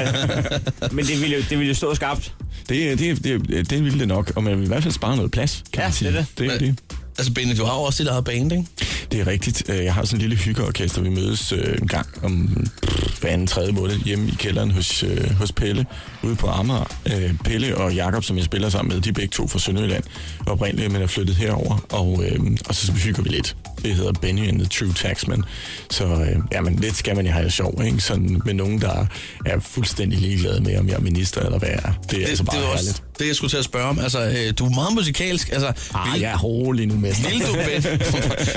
det. Men det ville jo, det ville jo stå skarpt.
Det, det, det, det ville det nok, og man vil i hvert fald spare noget plads, kan man sige.
det er det.
det, er det.
Altså, Benny, du har jo også dit eget band, ikke?
Det er rigtigt. Øh, Jeg har sådan en lille hyggeorkester. Vi mødes øh, en gang om pff, hver anden tredje måned hjemme i kælderen hos, øh, hos Pelle ude på Amager. Øh, Pelle og Jakob, som jeg spiller sammen med, de er begge to fra Sønderjylland oprindeligt, men er flyttet herover, og, øh, og så hygger vi lidt. Det hedder Benny and the True Taxman. Så øh, jamen, lidt skal man jo have sjov, ikke? Sådan med nogen, der er fuldstændig ligeglade med, om jeg er minister eller hvad jeg er. Det er det, altså bare
det,
det
var
herligt.
også det, jeg skulle til at spørge om. Altså, øh, du er meget musikalsk. Altså,
Ah, jeg er rolig nu, mester.
Vil du, Ben?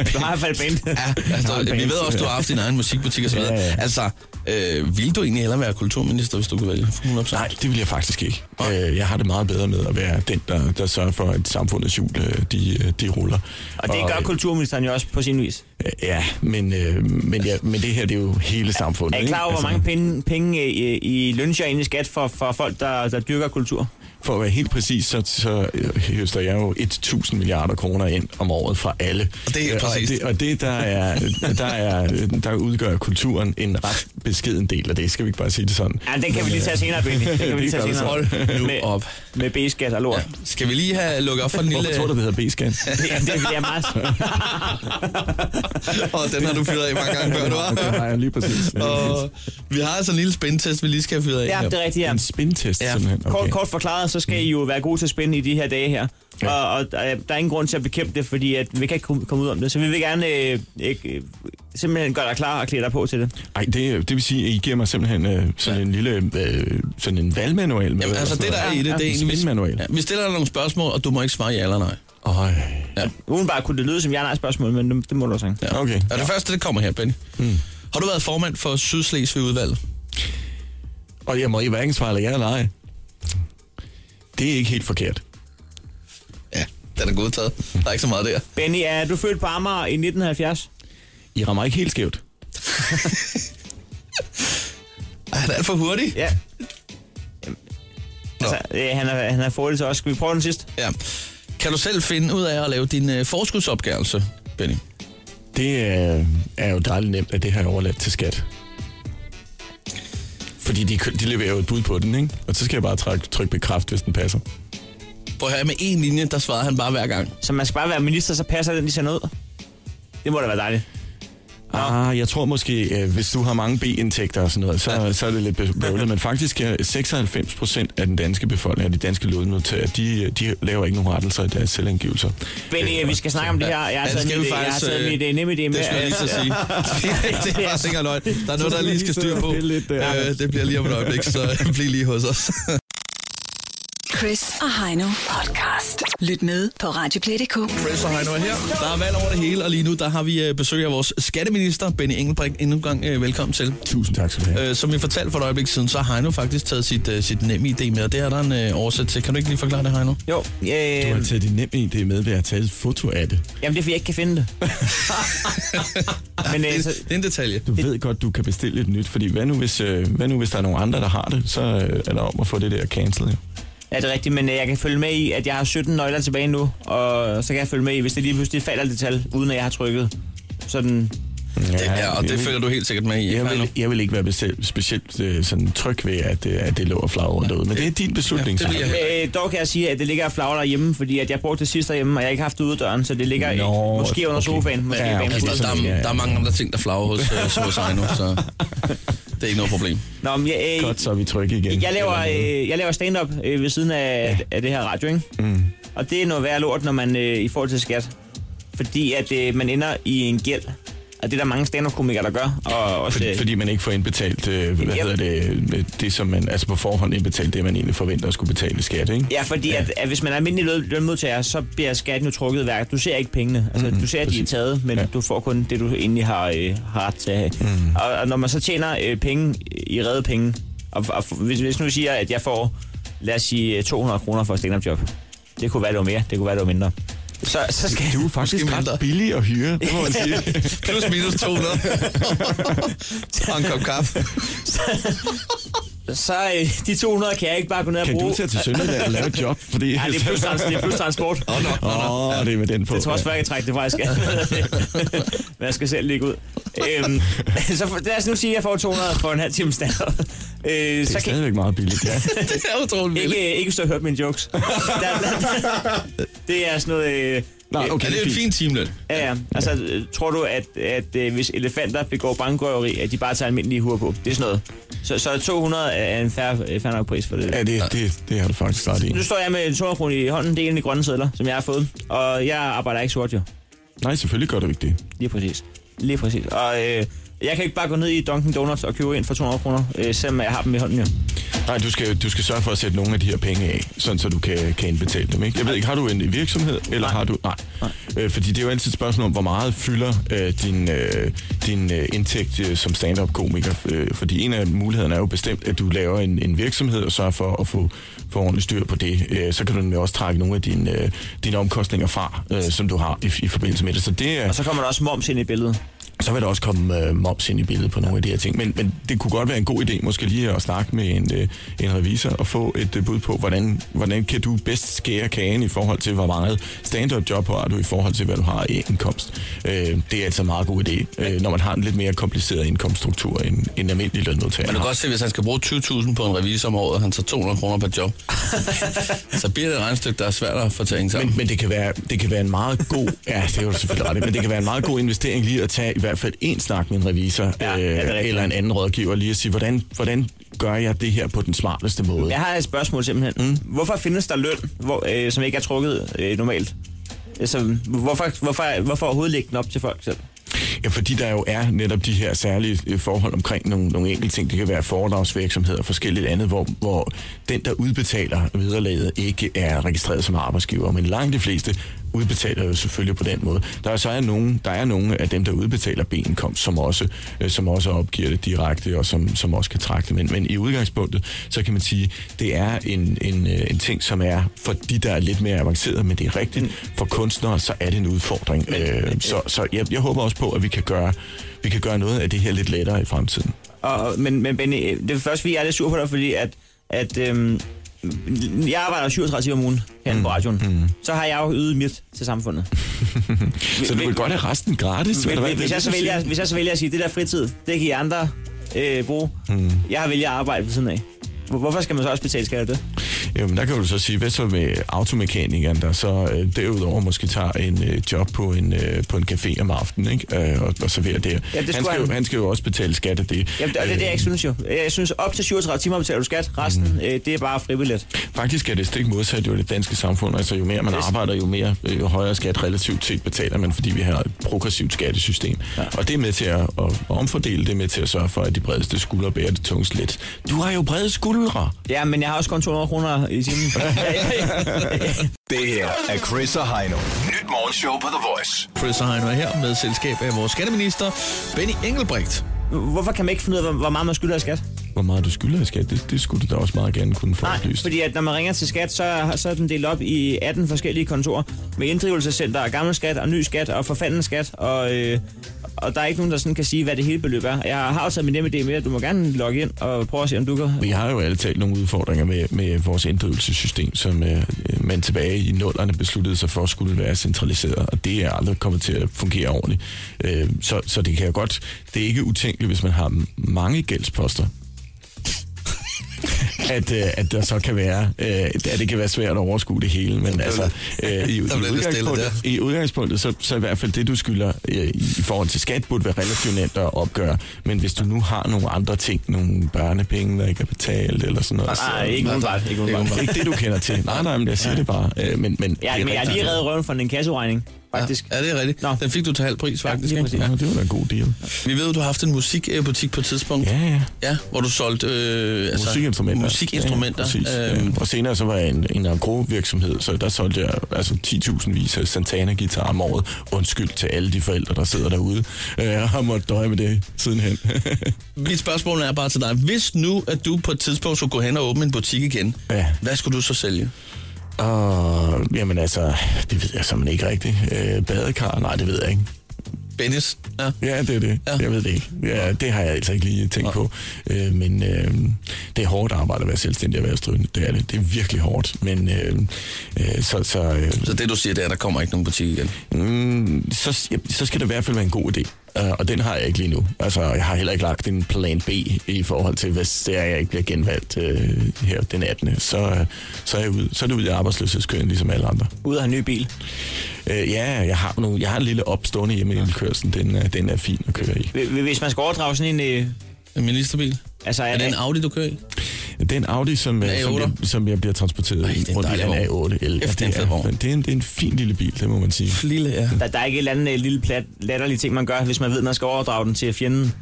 Du har i hvert fald band.
Ja,
Jeg har
altså,
en
vi
band.
ved også, du har haft din egen musikbutik og så videre.
Ja, ja.
Altså, øh, vil du egentlig hellere være kulturminister, hvis du kunne vælge? 100%.
Nej, det vil jeg faktisk ikke. Øh, jeg har det meget bedre med at være den, der, der sørger for, at samfundets hjul øh, de, øh, de ruller.
Og det gør kulturministeren jo også på sin vis.
øh, Ja, men, øh, men, ja, men det her det er jo hele samfundet.
Er I klar over,
ikke? Altså,
hvor mange penge, penge øh, i, i lønser ind i skat for, for folk, der, der dyrker kultur?
For at være helt præcis, så, så øh, høster jeg jo 1.000 milliarder kroner ind om året fra alle.
Og det er helt
Øh,
præcist.
Og det, og det der, er, der, er, der udgør kulturen en ret beskeden del af det. Skal vi ikke bare sige det sådan?
Ja, den kan vi lige tage senere, Benny. Den kan vi lige
Det
tage
gør vi
senere.
så.
Hold nu
Med-
op.
Med B-skat og lort. Ja.
Skal vi lige have lukket op for den lille...
Hvorfor tror du, det hedder B-skat?
Det, er- det, er- det er meget...
Og den har du fyret af mange gange før, du
Det har
har.
jeg lige præcis.
Og vi har altså en lille spændtest, vi lige skal have fyret af.
Ja, det er rigtigt, ja.
En spintest,
Ja.
simpelthen.
Kort, kort forklaret, så skal I jo være gode til at spænde i de her dage her.
Ja.
Ja. Og, og der, er- der er ingen grund til at bekæmpe det, fordi at vi kan ikke komme komme ud om det. Så vi vil gerne øh, ikke, øh, simpelthen gøre dig klar og klæde dig på til det.
Ej, det, det vil sige, at I giver mig simpelthen øh, sådan en lille øh, sådan en valgmanual. Med,
Jamen, altså, det der er i det, det er egentlig...
en
hvis-
spinmanual.
Ja, vi stiller dig nogle spørgsmål, og du må ikke svare ja eller nej.
Øj.
Udenbart kunne det lyde som ja-nej-spørgsmål, men det, det må du også ikke.
Ja. Hmm.
Okay.
Og det første, det kommer her, Benny.
Mm.
Har du været formand for Sydslesvig udvalget?
Og jeg må i hverken svare eller ja eller nej. Det er ikke helt forkert.
Ja, den er godtaget. Der er ikke så meget der.
Benny, er du født på Amager i 1970?
I rammer ikke helt skævt.
Ej, den er for hurtig.
Ja. Jamen, Altså, øh, han er, han er fordel til os. Skal vi prøve den sidste?
Ja. Kan du selv finde ud af at lave din øh, forskudsopgørelse, Benny?
Det øh, er jo dejligt nemt, at det har jeg overladt til skat. Fordi de, kø- de leverer jo et bud på den, ikke? Og så skal jeg bare trække, trykke bekræft, hvis den passer.
Prøv at høre, med en linje, der svarede han bare hver gang.
Så man skal bare være minister, så passer den lige sådan ud. Det må da være dejligt.
Ah, jeg tror måske, øh, hvis du har mange B-indtægter og sådan noget, så, så er det lidt bø- bøvlet. Men faktisk er 96 procent af den danske befolkning, af de danske lånmodtagere, de, øh, de laver ikke nogen rettelser i deres selvangivelser.
Benny, øh, vi skal snakke om det her. Jeg har
Ja, det
taget
skal
mit,
vi
øh, jeg har
faktisk,
taget
øh,
mit øh, nemme idé med.
Det skal jeg lige så sige. det er faktisk ikke engang løgn. Der er noget, der lige skal styre på. Øh, det bliver lige om et øjeblik, så øh, bliv lige hos os.
Chris og Heino podcast. Lyt med på Radioplay.dk.
Chris og Heino er her. Der er valg over det hele, og lige nu der har vi øh, besøg af vores skatteminister, Benny Engelbrink. Endnu en gang øh, velkommen til.
Tusind tak skal du have.
Øh, som vi fortalte for et øjeblik siden, så har Heino faktisk taget sit, øh, sit nemme idé med, og det er der en øh, oversæt til. Kan du ikke lige forklare det, Heino?
Jo,
Du har
øh,
taget din nemme idé med ved at tage et foto af det.
jamen det er fordi, jeg ikke kan finde det. Men øh,
Det,
så,
det er en detalje.
Du ved godt, du kan bestille et nyt, fordi hvad nu hvis, øh, hvad nu, hvis der er nogle andre, der har det, så øh, er der om at få det der cancelled. jo.
Ja, det er rigtigt, men øh, jeg kan følge med i, at jeg har 17 nøgler tilbage nu, og så kan jeg følge med i, hvis det lige pludselig falder det tal, uden at jeg har trykket. Sådan,
Ja, ja, og
jeg
det
vil-
føler du helt sikkert med i. ikke,
Jeg
Heino?
vil, jeg vil ikke være besel, specielt øh, sådan tryg ved, at, øh, at det lå og flagrede rundt derude, men det er din beslutning.
Ja, det vil jeg heller
øh, dog kan jeg sige, at det ligger og flagrer derhjemme, fordi at jeg brugte det sidste derhjemme, og jeg har ikke haft det ude af døren, så det ligger Nå,
Nå,
måske under
okay.
sofaen, måske
Ja,
ja,
okay,
okay,
Altså,
det
bag
der,
sådan,
der,
ja,
er,
ja.
der er mange andre ting, der flagrer hos, øh, hos Heino, så... Det er ikke noget problem.
Nå, men jeg, øh,
Godt, så er vi trygge igen.
Jeg laver, øh, jeg laver stand-up øh, ved siden af, ja. af det her radio, ikke?
Mm.
Og det er noget værd lort, når man øh, i forhold til skat. Fordi at øh, man ender i en gæld. Og det er der mange stand-up-komikere, der gør. Og også,
Fordi,
øh,
fordi man ikke får indbetalt, øh, hvad
Jamen.
hedder det, øh, det som man, altså på forhånd indbetalt det, man egentlig forventer at skulle betale i skat, ikke?
Ja, fordi ja. At, at hvis man er almindelig løn- lønmodtager, så bliver skatten jo trukket værk. Du ser ikke pengene. Altså, mm, du ser, at de er taget, men ja. du får kun det, du egentlig har, øh, har ret til at have. Mm. Og, og når man så tjener øh, penge i redde penge, og, og hvis, hvis nu siger, at jeg får, lad os sige, øh, 200 kroner for et stand job det kunne være, det var mere, det kunne være, det var mindre. Så, så skal
Du er faktisk
Måske mindre.
ret billig at hyre, det må man sige.
Plus minus 200. Og en kop kaffe.
så øh, de 200 kan jeg ikke bare gå ned og
Kan
bruge.
du tage til Sønderjylland og lave et job? Fordi...
Ja, det er plus, trans- det er plus transport.
Åh, nå, nå, nå.
Åh, oh, det er med den på.
Det tror jeg også, at jeg kan trække det fra, jeg skal. Men jeg skal selv ligge ud. Øhm, så for, lad os nu sige, at jeg får 200 for en halv time stand øh,
det
så
er
kan
stadigvæk meget billigt, ja.
Det er utroligt
ikke,
vildt.
ikke, ikke så hørt mine jokes. Der, der, det er sådan noget... Øh,
Nå, okay,
Ja, det er jo et fint timeløn.
ja, ja. Altså, øh, tror du, at, at øh, hvis elefanter begår bankrøveri, at de bare tager almindelige huer på? Det er sådan noget. Så, så 200 er en færre, fair nok pris for det.
Ja, det, det, det har du faktisk ret i.
Nu står jeg med 200 kroner i hånden. Det er en af de grønne sædler, som jeg har fået. Og jeg arbejder ikke sort, jo.
Nej, selvfølgelig gør du ikke det.
Lige præcis. Lige præcis. Og øh, jeg kan ikke bare gå ned i Dunkin' Donuts og købe ind for 200 kroner, øh, selvom jeg har dem i hånden jo.
Nej, du skal, du skal sørge for at sætte nogle af de her penge af, sådan så du kan, kan indbetale dem. Ikke? Jeg ved ikke, har du en virksomhed, eller Nej. har du... Nej. Nej. Øh, fordi det er jo altid et spørgsmål om, hvor meget fylder øh, din, øh, din øh, indtægt øh, som stand-up-komiker. Øh, fordi en af mulighederne er jo bestemt, at du laver en, en virksomhed og sørger for at få, få ordentligt styr på det. Øh, så kan du nemlig også trække nogle af dine, øh, dine omkostninger fra, øh, som du har i, i forbindelse med det. Så det er...
Og så kommer der også moms ind i billedet.
Så vil der også komme øh, moms ind i billedet på nogle af de her ting. Men, men det kunne godt være en god idé måske lige at snakke med en, øh, en revisor og få et øh, bud på, hvordan, hvordan kan du bedst skære kagen i forhold til, hvor meget stand-up job har du i forhold til, hvad du har i indkomst. Øh, det er altså en meget god idé, øh, når man har en lidt mere kompliceret indkomststruktur end en almindelig lønmodtager.
Men du kan godt se, hvis han skal bruge 20.000 på en revisor om året, og han tager 200 kroner per job, så bliver det et regnstykke, der er svært at få til at hænge sammen.
men, men det, kan være, det kan være en meget god... ja, det er jo selvfølgelig ret, i, men det kan være en meget god investering lige at tage i hvert fald en snak med en revisor
Ja,
ja,
ja, det er
øh,
rigtigt.
eller en anden rådgiver, lige at sige, hvordan, hvordan gør jeg det her på den smarteste måde?
Jeg har et spørgsmål simpelthen. Mm. Hvorfor findes der løn, hvor, øh, som ikke er trukket øh, normalt? Altså, hvorfor, hvorfor, hvorfor overhovedet lægge den op til folk selv?
Ja, fordi der jo er netop de her særlige øh, forhold omkring nogle, nogle enkelte ting. Det kan være foredragsvirksomheder og forskelligt andet, hvor, hvor den, der udbetaler vederlaget, ikke er registreret som arbejdsgiver. Men langt de fleste udbetaler jo selvfølgelig på den måde. Der er så er nogen, der er nogle af dem, der udbetaler B-indkomst, som også, øh, som også opgiver det direkte, og som, som også kan trække det. Men, men i udgangspunktet, så kan man sige, det er en, en, øh, en ting, som er for de, der er lidt mere avancerede, men det er
Mm.
rigtigt. For kunstnere, så er det en udfordring. Øh, så så jeg, jeg håber også på, at vi kan, gøre, vi kan gøre noget af det her lidt lettere i fremtiden.
Og, og- men, men Benny, øh, det er først, fordi jeg er lidt sur på dig, fordi at, at øhm, jeg arbejder 37 timer om ugen her mm. på radioen. Mm. Så har jeg jo ydet mit til samfundet.
Så du vil
men-
godt have resten gratis? eller hvad?
Hvis,
Det er
hvis, jeg
det,
så
du
vælger,
siger.
hvis jeg så vælger at sige, det der fritid, det kan I andre øh, bruge.
Hmm.
Mm. Jeg har vælger at arbejde ved siden af. Hvor- Hvorfor skal man så også betale skat af det?
Jamen, der kan du så sige, hvad så med automekanikeren, der så øh, derudover måske tager en øh, job på en, øh, på en café om aftenen, ikke? Øh, og, og serverer det. Ja,
skulle
han, skal jo,
han-
han skal jo også betale skat af det. Øh,
Jamen, det, og det er det, jeg ikke synes jo. Jeg synes, op til 37 timer betaler du skat. Resten,
Hmm.
mm. øh, det er bare frivilligt.
Faktisk er det stik modsat jo i det danske samfund. Altså, jo mere man
Yes.
arbejder, jo mere øh, jo højere skat relativt set betaler man, fordi vi har et progressivt skattesystem. Ja. Og det er med til at, at at omfordele, det er med til at sørge for, at de bredeste skuldre bærer det tungest lidt. Du har jo brede skuldre!
Ja, men jeg har også kun 200 kroner i timen.
Det her er Chris og Heino. Nyt morgenshow på The Voice.
Chris og Heino er her med selskab af vores skatteminister, Benny Engelbrecht.
Hvorfor kan man ikke finde ud af, hvor- hvor meget man skylder i skat?
Hvor meget du skylder i skat, det, det skulle du da også meget gerne kunne få
Nej,
oplyst.
fordi at når man ringer til skat, så, så er den delt op i 18 forskellige kontorer med inddrivelsescenter og gammel skat og ny skat og forfanden skat. Og, øh, og der er ikke nogen, der sådan kan sige, hvad det hele beløb er. Jeg har også taget min nemme idé med, at du må gerne logge ind og prøve at se, om du kan
Vi har jo alle talt nogle udfordringer med, med vores inddrivelsessystem, som øh, man tilbage i nullerne besluttede sig for skulle være centraliseret, og det er aldrig kommet til at fungere ordentligt. Øh, så, så det kan jo godt, det er ikke utænkeligt, hvis man har m- mange gældsposter. at, øh, at der så kan være, øh, at det kan være svært at overskue det hele, men altså, øh, i, i,
lidt stille
udgangspunktet, i udgangspunktet, så, så i hvert fald det, du skylder øh, i forhold til skat, burde være relativt nemt at opgøre, men hvis du nu har nogle andre ting, nogle børnepenge, der ikke er betalt, eller sådan noget.
Nej,
så-
ikke umiddelbart, ikke umiddelbart.
Ikke det, du kender til. Nej, nej, men jeg siger det bare. Øh, men, men,
Ja,
det er
men jeg har
rigtigt.
lige reddet røven fra en kasseregning, faktisk.
Ja, det er rigtigt. Nå. Den fik du til halv pris, faktisk.
lige
ikke?
præcis.
Ja, det var da en god deal.
Vi ved, du har haft en musikbutik på et tidspunkt.
Ja, ja.
Ja, hvor du solgte øh, altså,
musikinstrumenter.
musikinstrumenter.
Ja, præcis.
øhm,
Øhm. Og senere så var jeg en, en grovirksomhed, så der solgte jeg altså 10.000 vis af santana guitar om året. Undskyld til alle de forældre, der sidder derude øh, og måtte døje med det sidenhen.
Mit spørgsmål er bare til dig. Hvis nu, at du på et tidspunkt skulle gå hen og åbne en butik igen,
ja.
hvad skulle du så sælge?
Og, jamen altså, det ved jeg simpelthen ikke rigtigt. Øh, badekar? Nej, det ved jeg ikke.
Bennis? Ja,
ja det er det. Ja. Jeg ved det ikke. Ja, det har jeg altså ikke lige tænkt ja. på. Øh, men øh, det er hårdt arbejde at være selvstændig erhvervsdrivende. Det er det. Det er virkelig hårdt. Men øh, øh, så... Så, øh,
Så det, du siger, det er, at der kommer ikke nogen butik igen?
Mm, så, ja, så skal det i hvert fald være en god idé. Uh, og den har jeg ikke lige nu. Altså, jeg har heller ikke lagt en plan B i forhold til, hvis det er, jeg ikke bliver genvalgt uh, her den 18. Så, uh, så, er jeg ude, så er det ud i arbejdsløshedskøen, ligesom alle andre.
Ud af en ny bil?
Uh, ja, jeg har, nu, jeg har en lille opstående hjemme i indkørslen. Den, uh, den er fin at køre i.
Hv- Hvis man skal overdrage sådan en... Øh...
En ministerbil?
Altså, er,
Er det en Audi, du kører i?
Det er en Audi, som,
En
øh, som,
A8'er?
jeg, som jeg bliver transporteret Ej,
en
rundt i
dejlig
en
vogn.
A8 L.
Kæft, det er en fed vogn.
det, er en, det er en fin lille bil, det må man sige.
Lille, ja.
Der, der er ikke et eller andet øh, lille plat, latterlige ting, man gør, hvis man ved, at man skal overdrage den til fjenden.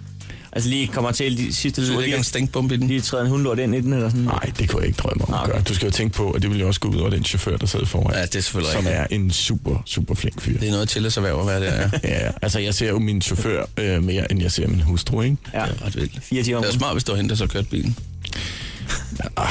Altså lige kommer til de sidste...
Du
lige-
lægger en stænkbombe i den.
Lige træder en hundlort ind i den, eller sådan.
Nej, det kunne jeg ikke drømme om at gøre. Du skal jo tænke på, at det ville jo også gå ud over den chauffør, der sad foran.
Ja, det er selvfølgelig
Som
rigtigt.
er en super, super flink fyr.
Det er noget til at erhverv at være der, ja.
Ja, altså jeg ser jo min chauffør øh, mere, end jeg ser min hustru, ikke?
Ja,
Det er ret vildt.
fire timer om
Det er
ugen.
smart, hvis du har hende, der så har kørt bilen. Ah,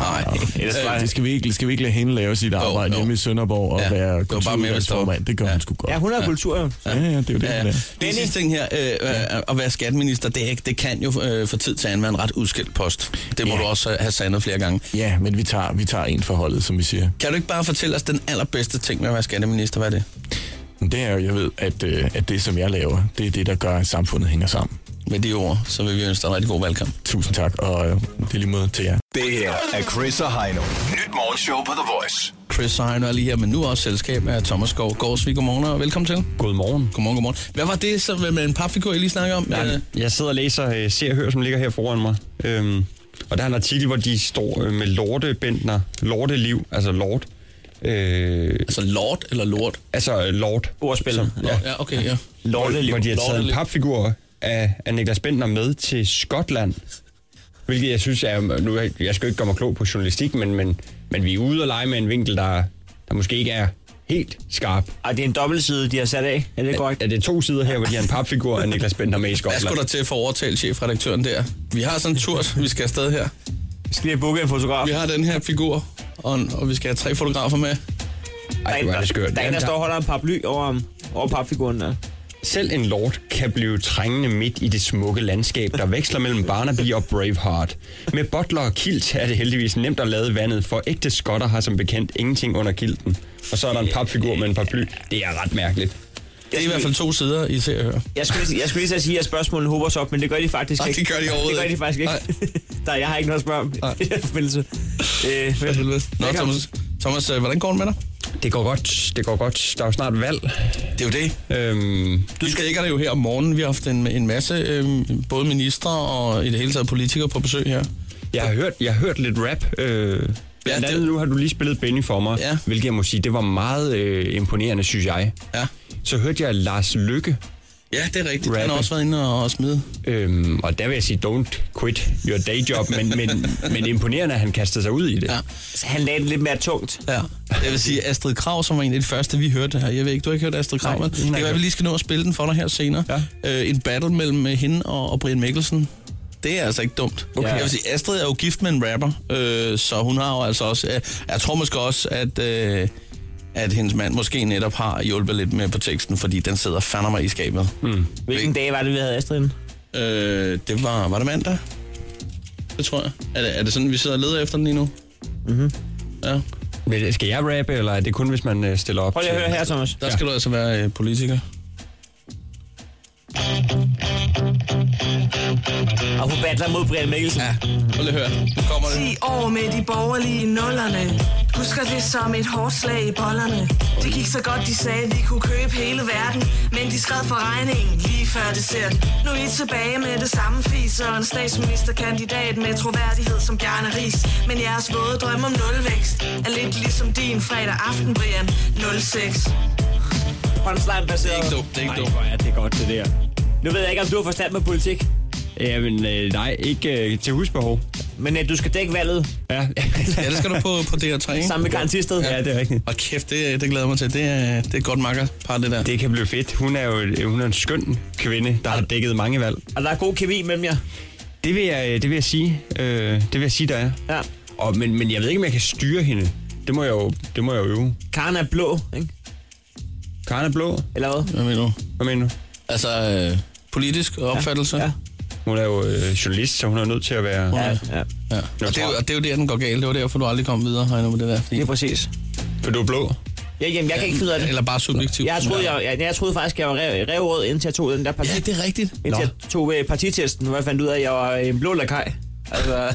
Nej,
Ellers
Øh,
var-
det skal vi ikke, skal vi ikke lade hende lave sit arbejde
jo.
hjemme i Sønderborg og
Ja, det var
være
bare mere, hvis der var-
kulturudvalgsformand. Det gør
Ja.
ja. hun sgu godt.
Ja, hun er kultur, jo.
Ja, ja, det er jo det,
Ja,
hun
ja.
er.
Den sidste ting her, øh, øh, at være skatteminister, det, er ikke, det kan jo øh, for tid til anden være en ret udskilt post. Det må
Ja.
du også have sandet flere gange.
Ja, men vi tager, vi tager en forholdet, som vi siger.
Kan du ikke bare fortælle os den allerbedste ting med at være skatteminister? Hvad er det?
Men Det er jo, jeg ved, at, øh, at det, som jeg laver, det er det, der gør, at samfundet hænger sammen.
Med de ord, så vil vi ønske dig en rigtig god valgkamp.
Tusind tak, og øh, det er lige måde til jer.
Det her er Chris og Heino. Nyt morgenshow på The Voice.
Chris Heino er lige her, men nu også selskab af Thomas Skov Gårdsvig. Godmorgen og velkommen til.
Godmorgen.
Godmorgen, godmorgen. Hvad var det så med en papfigur, I lige snakkede om? Øh, Ja.
Jeg, jeg sidder og læser øh, Se og Hør, som ligger her foran mig. Øhm, og der er en artikel, hvor de står øh, med lortebændner, lorteliv, altså lort. Øh,
altså lort eller lort?
Altså øh, lort.
Ordspil.
ja.
ja, okay, ja.
Lorteliv. Hvor de har taget en
Lorteliv.
papfigur af, af Niklas Bentner med til Skotland. Hvilket jeg synes er, nu er jeg, jeg skal jo ikke gøre mig klog på journalistik, men, men, men vi er ude og lege med en vinkel, der, der måske ikke er helt skarp.
Og det er en dobbeltside, de har sat af. Er det korrekt?
Er, er det to sider her, hvor de har en papfigur af Niklas Bentner med i
Hvad
Skotland?
skulle der til for at overtale chefredaktøren der? Vi har sådan en tur, vi skal afsted her.
Vi skal lige booke en fotograf.
Vi har den her figur, og, og vi skal have tre fotografer med.
Ej, hvor er det skørt.
Der er en, der står og holder en paraply over, over papfiguren der.
Selv en lord kan blive trængende midt i det smukke landskab, der veksler mellem Barnaby og Braveheart. Med butler og kilt er det heldigvis nemt at lade vandet, for ægte skotter har som bekendt ingenting under kilten. Og så er der en papfigur med en paraply. Det er ret mærkeligt.
Det er i hvert fald to sider, I ser og hører.
Jeg skulle, lige- jeg skulle lige til at sige, at spørgsmålene hober sig op, men det gør de faktisk
Nej,
ikke.
det gør de overhovedet
Det gør de
ikke.
faktisk ikke. Der, jeg har ikke noget at spørge om i den forbindelse. Øh,
For helvede. Nå,
Velkommen.
Thomas, Thomas, øh, hvordan går det med dig?
Det går godt, det går godt. Der er jo snart valg.
Det er jo det.
Øhm,
Du skal ikke det jo her om morgenen. Vi har haft en, en masse, øh, både ministre og i det hele taget politikere på besøg her.
jeg, har hørt, jeg har hørt lidt rap. Øh, blandt andet nu har du lige spillet Benny for mig,
Ja.
hvilket jeg må sige, det var meget øh, imponerende, synes jeg.
Ja.
Så hørte jeg Lars Lykke
Ja, det er rigtigt. Han har
Rappe.
også været inde og, og smide.
Øhm, og der vil jeg sige, don't quit your day job, men, men, men imponerende, at han kastede sig ud i det.
Ja.
Så han lagde det lidt mere tungt.
Ja. Jeg vil sige, Astrid Krav, som var en af de første, vi hørte her. Jeg ved ikke, du har ikke hørt Astrid Krav, men det kan være, vi lige skal nå at spille den for dig her senere. Ja. Øh, en battle mellem øh, hende og, og Brian Mikkelsen. Det er altså ikke dumt. Okay. Jeg vil sige, Astrid er jo gift med en rapper, øh, så hun har jo altså også... Øh, jeg tror måske også, at... Øh, at hendes mand måske netop har hjulpet lidt med på teksten, fordi den sidder fandme i skabet. Mm.
Hvilken dag var det, vi havde Astrid? inde?
Øh, det var... Var det mandag? Det tror jeg. Er det, er det sådan, vi sidder og leder efter den lige nu? Mhm. Ja.
Men skal jeg rappe, eller er det kun, hvis man øh, stiller op?
Prøv lige at
til-
høre her, Thomas.
Der skal ja. du altså være øh, politiker.
Og hun battler mod Brian Mikkelsen. Ja,
prøv lige at høre. Nu kommer det.
10 år med de borgerlige nullerne. Husker det som et hårdt slag i bollerne. Det gik så godt, de sagde, vi kunne købe hele verden. Men de skred for regningen lige før det ser Nu er I tilbage med det samme fis og en statsministerkandidat med troværdighed som Bjarne Ries. Men jeres våde drøm om nulvækst er lidt ligesom din fredag aften, Brian. 06.
Punchline baseret. Det er ikke dumt, det er ikke dumt. Ja, det er godt, det der. Nu ved jeg ikke, om du har forstand på politik.
Jamen, øh, nej, ikke øh, til husbehov.
Men øh, du skal dække valget.
Ja.
Ja, det skal du på, på DR3, ikke?
Sammen med Garantisted.
Ja, det er rigtigt.
Og kæft, det, det glæder jeg mig til. Det er, det er et godt makkerpar, det der.
Det kan blive fedt. Hun er jo øh, hun er en skøn kvinde, der har dækket mange valg.
Og der er god kemi mellem jer.
Det vil jeg, det vil jeg sige. Øh, det vil jeg sige, der er.
Ja.
Og, men, men jeg ved ikke, om jeg kan styre hende. Det må jeg jo, det må jeg jo øve.
Karen er blå, ikke?
Karen er blå.
Eller hvad?
Hvad mener du?
Hvad mener du?
Altså, øh, politisk opfattelse?
Ja.
Hun er jo øh, journalist, så hun er nødt til at være...
Ja,
ja.
ja. Og det, er, jo- og det er jo der, den går galt. Det var derfor, du aldrig kom videre, Heino, med det der.
Det er præcis.
For du er blå?
Ja, jamen, jeg kan ikke finde ud af det.
Eller bare subjektivt.
Jeg troede, jeg, jeg, jeg troede faktisk, jeg var rev- revråd, indtil jeg tog den der parti. Ja,
det er rigtigt.
Indtil jeg tog øh, partitesten, hvor jeg fandt ud af, at jeg var en blå lakaj. Altså, ja.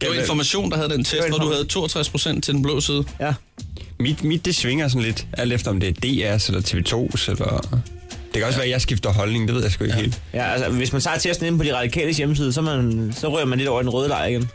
Det var information, der havde den test, hvor du havde 62 procent til den blå side.
Ja.
Mit, mit det svinger sådan lidt, alt efter om det er DR's eller TV2's, eller... Det kan også ja. være, at jeg skifter holdning, det ved jeg sgu ikke ja. helt.
Ja, altså, hvis man tager testen inde på de radikales hjemmeside, så, er man, så rører man lidt over i den røde lejr igen.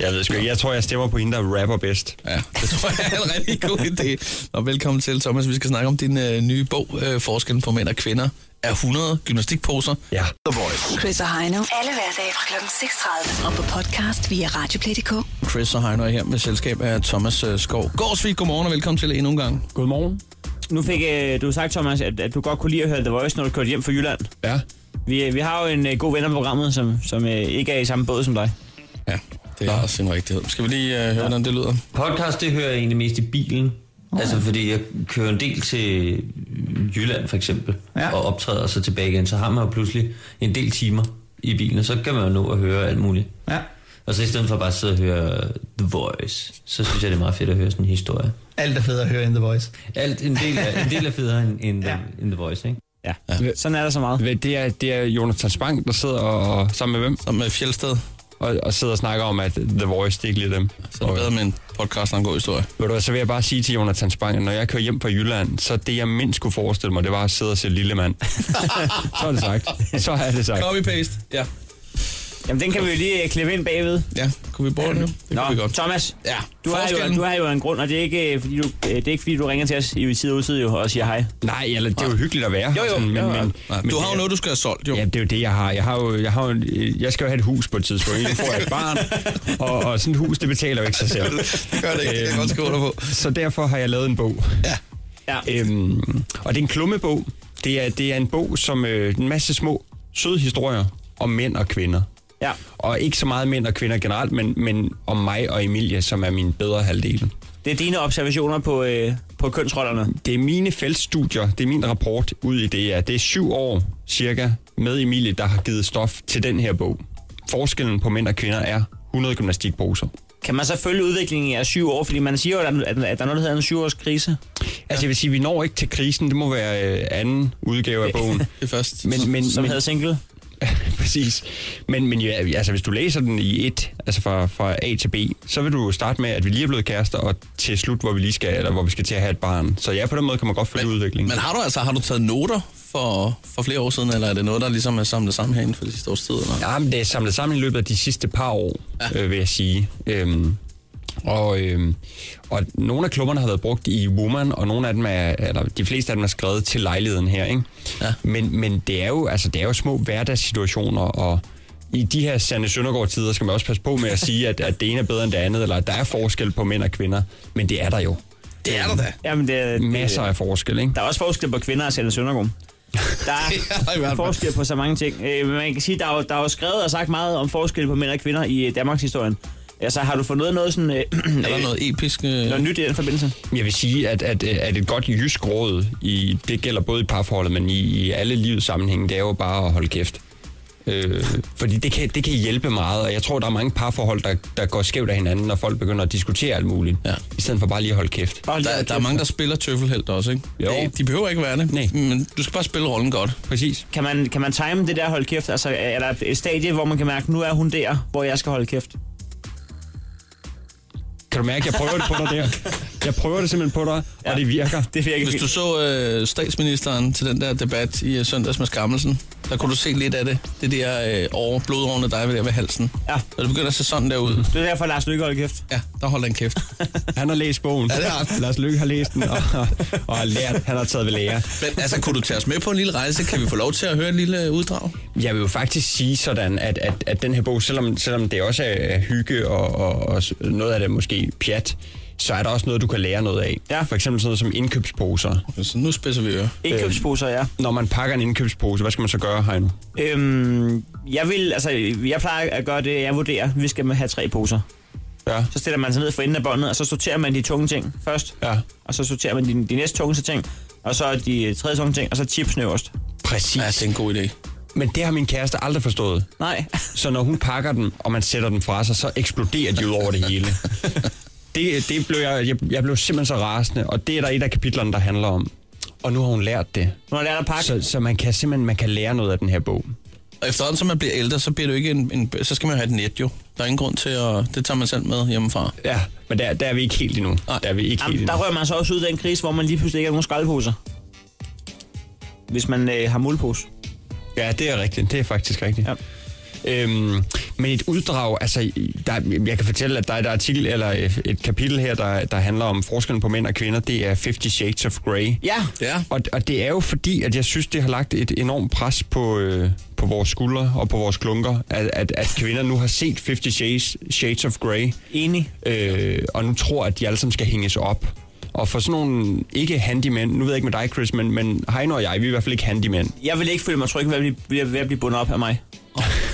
Jeg ved sgu ikke, jeg tror, jeg stemmer på hende, der rapper bedst.
Ja, det tror jeg er en rigtig god idé. Og velkommen til, Thomas. Vi skal snakke om din øh, nye bog, øh, Forskellen på mænd og kvinder, er 100 gymnastikposer.
Ja.
The Voice.
Chris og Heino. Alle hverdage fra kl. 6.30. Og på podcast via Radioplay.dk.
Chris og Heino er her med selskab af Thomas øh, Skov. Gårdsvig, godmorgen og velkommen til endnu en gang.
Godmorgen.
Nu fik øh, du sagt, Thomas, at, at du godt kunne lide at høre The Voice, når du kørte hjem fra Jylland.
Ja.
Vi, øh, vi har jo en øh, god ven af programmet, som, som øh, ikke er i samme båd som dig.
Ja, det er også en rigtighed. Skal vi lige øh, høre, ja. hvordan det lyder?
Podcast, det hører jeg egentlig mest i bilen. Okay. Altså, fordi jeg kører en del til Jylland, for eksempel, ja. og optræder så tilbage igen. Så har man jo pludselig en del timer i bilen, og så kan man jo nå at høre alt muligt.
Ja.
Og så i stedet for bare at sidde og høre The Voice, så synes jeg, det er meget fedt at høre sådan en historie.
Alt er fedt at høre in The Voice.
Alt, en del er, en del er federe end, end, ja. the, end The Voice, ikke?
Ja. Sådan er der så meget.
Det er, det er Jonas Spang, der sidder og, og, sammen med hvem?
Sammen med øh, Fjeldsted.
Og, og sidder og snakker om, at The Voice, det er ikke lige dem. Så
er det bedre med en podcast, der en god historie.
Ved du hvad, så vil jeg bare sige til Jonathan Spang, at når jeg kører hjem fra Jylland, så det, jeg mindst kunne forestille mig, det var at sidde og se Lille Mand. så er det sagt. Så er det sagt.
Copy-paste, ja.
Jamen, den kan vi jo lige øh, klippe ind bagved.
Ja, kunne vi bruge den nu? Det
Nå,
kunne vi godt.
Thomas,
ja,
du, har jo,
forskellen.
du har jo en grund, og det er ikke, øh, fordi du, øh, det er ikke fordi, du ringer til os i side og utid jo, og siger hej.
Nej, eller, det er jo hyggeligt at være.
Jo, jo.
men,
jo,
men,
Nej,
men
du har jo
det-
noget, du skal have solgt, jo.
Ja, det er jo det, jeg har. Jeg, har jo, jeg, har jo, en- jeg skal jo have et hus på et tidspunkt. Jeg får jeg et barn, og, og sådan et hus, det betaler jo ikke sig selv.
Det gør det ikke, det kan jeg godt skrive dig på.
Så derfor har jeg lavet en bog.
Ja.
Øhm, og det er en klummebog. Det er, det er en bog, som øh, en masse små søde historier om mænd og kvinder.
Ja.
Og ikke så meget mænd og kvinder generelt, men, men om mig og Emilie, som er min bedre halvdel.
Det er dine observationer på, øh, på kønsrollerne.
Det er mine feltstudier, det er min rapport ud i det. Ja. Det er syv år cirka med Emilie, der har givet stof til den her bog. Forskellen på mænd og kvinder er 100 gymnastikposer.
Kan man så følge udviklingen i jeres syv år? Fordi man siger jo, at der, at der er noget, der hedder en syvårskrise.
Altså jeg vil sige, vi når ikke til krisen, det må være øh, anden udgave af bogen. det
er først,
men, men,
som
men,
hedder single.
Præcis. Men, men ja, altså, hvis du læser den i et, altså fra, fra A til B, så vil du starte med, at vi lige er blevet kærester, og til slut, hvor vi lige skal, eller hvor vi skal til at have et barn. Så ja, på den måde kan man godt følge udviklingen.
Men har du altså har du taget noter for, for flere år siden, eller er det noget, der ligesom er samlet sammen herinde for det sidste års tid? Eller?
Ja, men det er samlet sammen i løbet af de sidste par år, ja. øh, vil jeg sige. Øhm, og, øhm, og nogle af klummerne har været brugt i Woman, og nogle af dem er, eller de fleste af dem er skrevet til lejligheden her, ikke? Ja. Men, men det, er jo, altså, det er jo små hverdagssituationer, og i de her Sande Søndergaard-tider skal man også passe på med at sige, at, at det ene er bedre end det andet, eller at der er forskel på mænd og kvinder, men det er der jo.
Det er der da.
Jamen, det, det,
Masser af forskel, ikke?
Der er også forskel på kvinder og Sande Søndergaard. Der
i hvert
er
fald.
forskel på så mange ting. Øh, men man kan sige, der er, jo, der er jo skrevet og sagt meget om forskel på mænd og kvinder i øh, Danmarks historien. Altså, har du fundet noget sådan... Øh,
Er der noget episk... Øh...
noget nyt i den forbindelse?
Jeg vil sige, at, at, at et godt jysk råd, i, det gælder både i parforholdet, men i, i alle livets sammenhænge, det er jo bare at holde kæft. Øh, fordi det kan, det kan hjælpe meget, og jeg tror, der er mange parforhold, der, der går skævt af hinanden, når folk begynder at diskutere alt muligt, ja. i stedet for bare lige at holde kæft.
Der, der er mange, der spiller tøffelhelt også, ikke? Jo. Det, de behøver ikke være det, Nej. men du skal bare spille rollen godt.
Præcis.
Kan man, kan man time det der hold kæft? Altså, er der et stadie, hvor man kan mærke, nu er hun der, hvor jeg skal holde kæft?
Kan du mærke, jeg prøver det på dig der? Jeg prøver det simpelthen på dig, ja. og det virker.
Det virker
Hvis du så øh, statsministeren til den der debat i øh, søndags med Skammelsen, der kunne du se lidt af det. Det der øh, over, blodårene dig der ved halsen.
Ja.
Og det begynder at se sådan der ud.
Det er derfor, Lars Lykke holder kæft.
Ja, der holder han kæft.
Han har læst bogen.
Ja, det har han.
Lars Løkke har læst den, og, og har lært, han har taget ved lære.
Men altså, kunne du tage os med på en lille rejse? Kan vi få lov til at høre et lille øh, uddrag?
Jeg vil jo faktisk sige sådan, at, at, at den her bog, selvom, selvom det også er hygge og, og, og s- noget af det er måske pjat, så er der også noget, du kan lære noget af. Ja. For eksempel sådan noget som indkøbsposer.
Så Altså, nu spidser vi ører.
Indkøbsposer, ja.
Når man pakker en indkøbspose, hvad skal man så gøre, Heino?
Øhm, jeg vil, altså, jeg plejer at gøre det, jeg vurderer, vi skal have tre poser.
Ja.
Så stiller man sig ned for enden af båndet, og så sorterer man de tunge ting først.
Ja.
Og så sorterer man de, de næste tungeste ting, og så de tredje tunge ting, og så chips øverst.
Præcis.
Ja, det er en god idé.
Men det har min kæreste aldrig forstået.
Nej.
Så når hun pakker den, og man sætter den fra sig, så eksploderer de ud over det hele. Det, det blev jeg, jeg, jeg blev simpelthen så rasende, og det er der et af kapitlerne, der handler om. Og nu har hun lært det.
Nu har lært at pakke.
Så, så man kan simpelthen man kan lære noget af den her bog.
Og efterhånden, som man bliver ældre, så, bliver det jo ikke en, en, så skal man jo have et net jo. Der er ingen grund til at... Det tager man selv med hjemmefra.
Ja, men der, der er vi ikke helt endnu. Der er vi ikke helt
Jamen, der rører man så også ud i den krise, hvor man lige pludselig ikke har nogen skraldeposer. Hvis man øh, har muldpose.
Ja, det er rigtigt. Det er faktisk rigtigt.
Ja.
Øhm, men et uddrag, altså, der, jeg kan fortælle, at der er et artikel, eller et kapitel her, der, der handler om forskellen på mænd og kvinder, det er 50 Shades of Grey.
Ja.
ja.
Og, og det er jo fordi, at jeg synes, det har lagt et enormt pres på, øh, på vores skuldre og på vores klunker, at, at, at kvinder nu har set 50 Shades, Shades of Grey.
Enig.
Øh, og nu tror, at de alle sammen skal hænges op. Og for sådan nogle ikke handymænd, nu ved jeg ikke med dig, Chris, men, men Heino og jeg, vi er i hvert fald ikke handymænd.
Jeg vil ikke føle mig tryg ved at blive, ved, ved at blive bundet op af mig.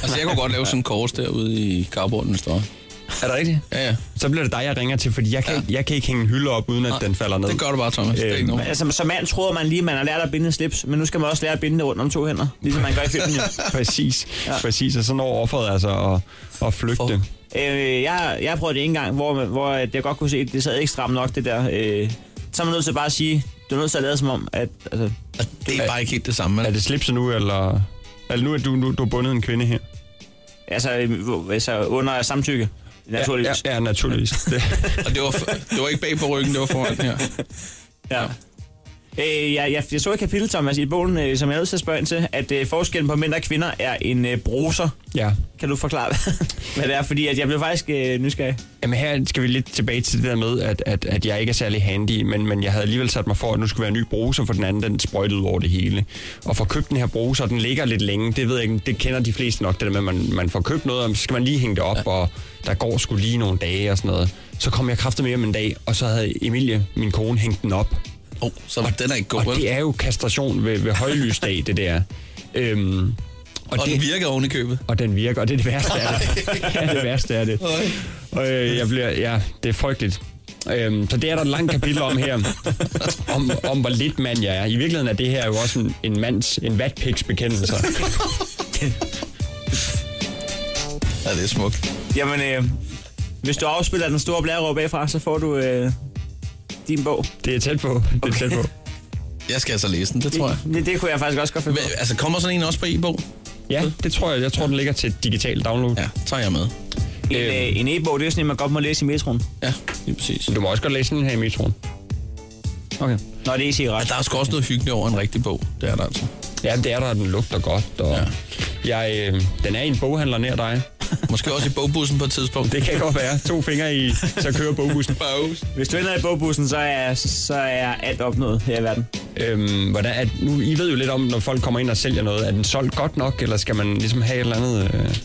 Altså, jeg kunne godt lave sådan en kors derude i cardboarden, hvis der var.
Er det rigtigt?
Ja, ja.
Så bliver det dig, jeg ringer til, fordi jeg kan, ja. jeg kan ikke hænge en hylde op, uden at Nej, den falder ned.
det gør du bare, Thomas. Det er ikke noget.
Altså, som mand tror man lige, man har lært at binde et slips, men nu skal man også lære at binde det rundt om to hænder. Ligesom man gør i filmen, jo.
Præcis,
Ja.
ja. præcis. Og så når offeret altså at, at flygte. For.
Øh, jeg, jeg har prøvet det en gang, hvor, hvor at jeg godt kunne se, at det sad ikke stramt nok, det der. Øh, så er man nødt til bare at sige, du er nødt til at lade som om, at... Altså,
det er bare ikke helt det samme.
Er det slipset nu, eller... Altså nu er du, nu, du er bundet en kvinde her.
Altså, øh, hvor- altså under samtykke, naturligvis.
Ja, ja, ja naturligvis. Det.
Og det var, f- det var ikke bag på ryggen, det var foran her.
Ja. Øh, jeg, jeg, jeg så et kapitel, Thomas, i bogen, øh, som jeg er nødt til at spørge ind til, at øh, forskellen på mænd og kvinder er en øh, bruser.
Ja.
Kan du forklare, hvad det er? Fordi at jeg blev faktisk øh, nysgerrig.
Jamen her skal vi lidt tilbage til det der med, at, at, at jeg ikke er særlig handy, men, men jeg havde alligevel sat mig for, at nu skulle være en ny bruser, for den anden den sprøjtede ud over det hele. Og for købt den her bruser, den ligger lidt længe, det ved jeg ikke, det kender de fleste nok, det der med, at man, man får købt noget, og så skal man lige hænge det op, ja. og der går sgu lige nogle dage og sådan noget. Så kom jeg kraftet med om en dag, og så havde Emilie, min kone, hængt den op.
Oh, så
og,
den er ikke god,
Og
vel?
det er jo kastration ved, ved højlysdag, det der. Øhm,
Og, og det, den virker oven i købet.
og den virker, og det er det værste af det. Ja, det værste er det. Og øh, jeg bliver, ja, det er frygteligt. Øhm, så det er der et langt kapitel om her, om, om hvor lidt mand jeg er. I virkeligheden er det her jo også en, en mands, en vatpiks bekendelse.
Ja, det er smukt.
Jamen, øh, hvis du afspiller den store blære bagfra, så får du øh, din bog.
Det er tæt på. Det er tæt på.
Jeg skal altså læse den, det tror jeg.
Det, det kunne jeg faktisk også godt finde på.
Altså, kommer sådan en også på e-bog?
Ja, det tror jeg. Jeg tror, den ligger til digital download.
Ja, tager jeg med.
En, øh, en e-bog, det er sådan en, man godt må læse i metroen.
Ja, lige præcis.
Du må også godt læse den her i metroen.
Okay. Nå, det er ikke ret.
Altså-
Der er sgu også noget hyggeligt over en rigtig bog. Det er der altså.
Ja, det er der, og den lugter godt. Og ja. jeg, øh, den er i en boghandler nær dig.
Måske også i bogbussen på et tidspunkt.
Det kan godt være. To fingre i, så kører bogbussen.
Hvis du ender i bogbussen, så er, så er alt opnået her i verden.
Øhm, hvordan, at, nu, I ved jo lidt om, når folk kommer ind og sælger noget. Er den solgt godt nok, eller skal man ligesom have et eller andet... Øh...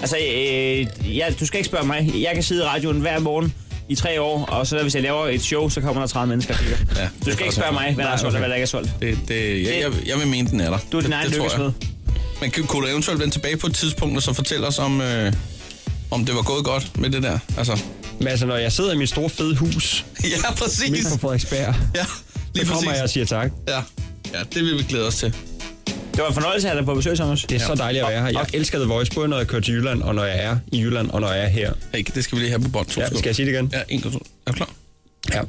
Altså, øh, jeg, du skal ikke spørge mig. Jeg kan sidde i radioen hver morgen i tre år, og så hvis jeg laver et show, så kommer der 30 mennesker og kigger.
Ja,
Du skal ikke spørge mig, hvad der er solgt og hvad der ikke er solgt.
Det, det, jeg, jeg, jeg vil mene, den er der.
Du er din
det,
egen
det tror jeg.
lykkesmed.
Men kunne- kunne du eventuelt vende tilbage på et tidspunkt, og så fortælle os om, øh, om det var gået godt med det der? Altså,
Men altså, når jeg sidder i mit store fede hus,
ja, præcis.
midt på Frederiksberg,
Ja,
så
lige
kommer
præcis.
jeg og siger tak.
Ja. ja, det vil vi glæde os til.
Det var en fornøjelse at have dig på besøg, Thomas.
Det er så dejligt at være her. Jeg elsker The Voice, både når jeg kører til Jylland, og når jeg er i Jylland, og når jeg er her.
Hey, det skal vi lige have på bånd.
Ja, skal jeg sige det igen?
Ja, en, to, Er du klar?
Ja.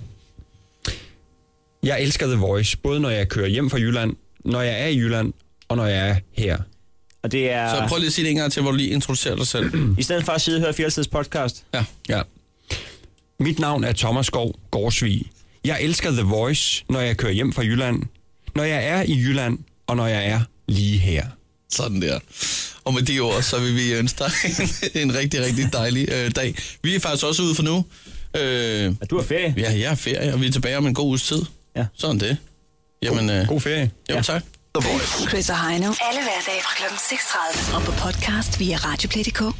Jeg elsker The Voice, både når jeg kører hjem fra Jylland, når jeg er i Jylland, og når jeg er her.
Og det er...
Ah.
Så prøv lige at sige det en gang til, hvor du lige introducerer dig selv.
I stedet for at sidde og høre Fjeldsteds podcast.
Ja.
Ja. Mit navn er Thomas Skov Gårdsvig. Jeg elsker The Voice, når jeg kører hjem fra Jylland, når jeg er i Jylland, og når jeg er lige her.
Sådan der. Og med de ord, så vil vi ønske dig en, en rigtig, rigtig dejlig øh, dag. Vi er faktisk også ude for nu. Øh,
du har ferie?
Ja, jeg er ferie, og vi er tilbage om en god uges tid.
Ja.
Sådan det. Jamen, øh,
god ferie.
Jo, ja. tak.
Chris og Heino. Alle hverdage fra kl. 6.30. Og på podcast via Radioplay.dk.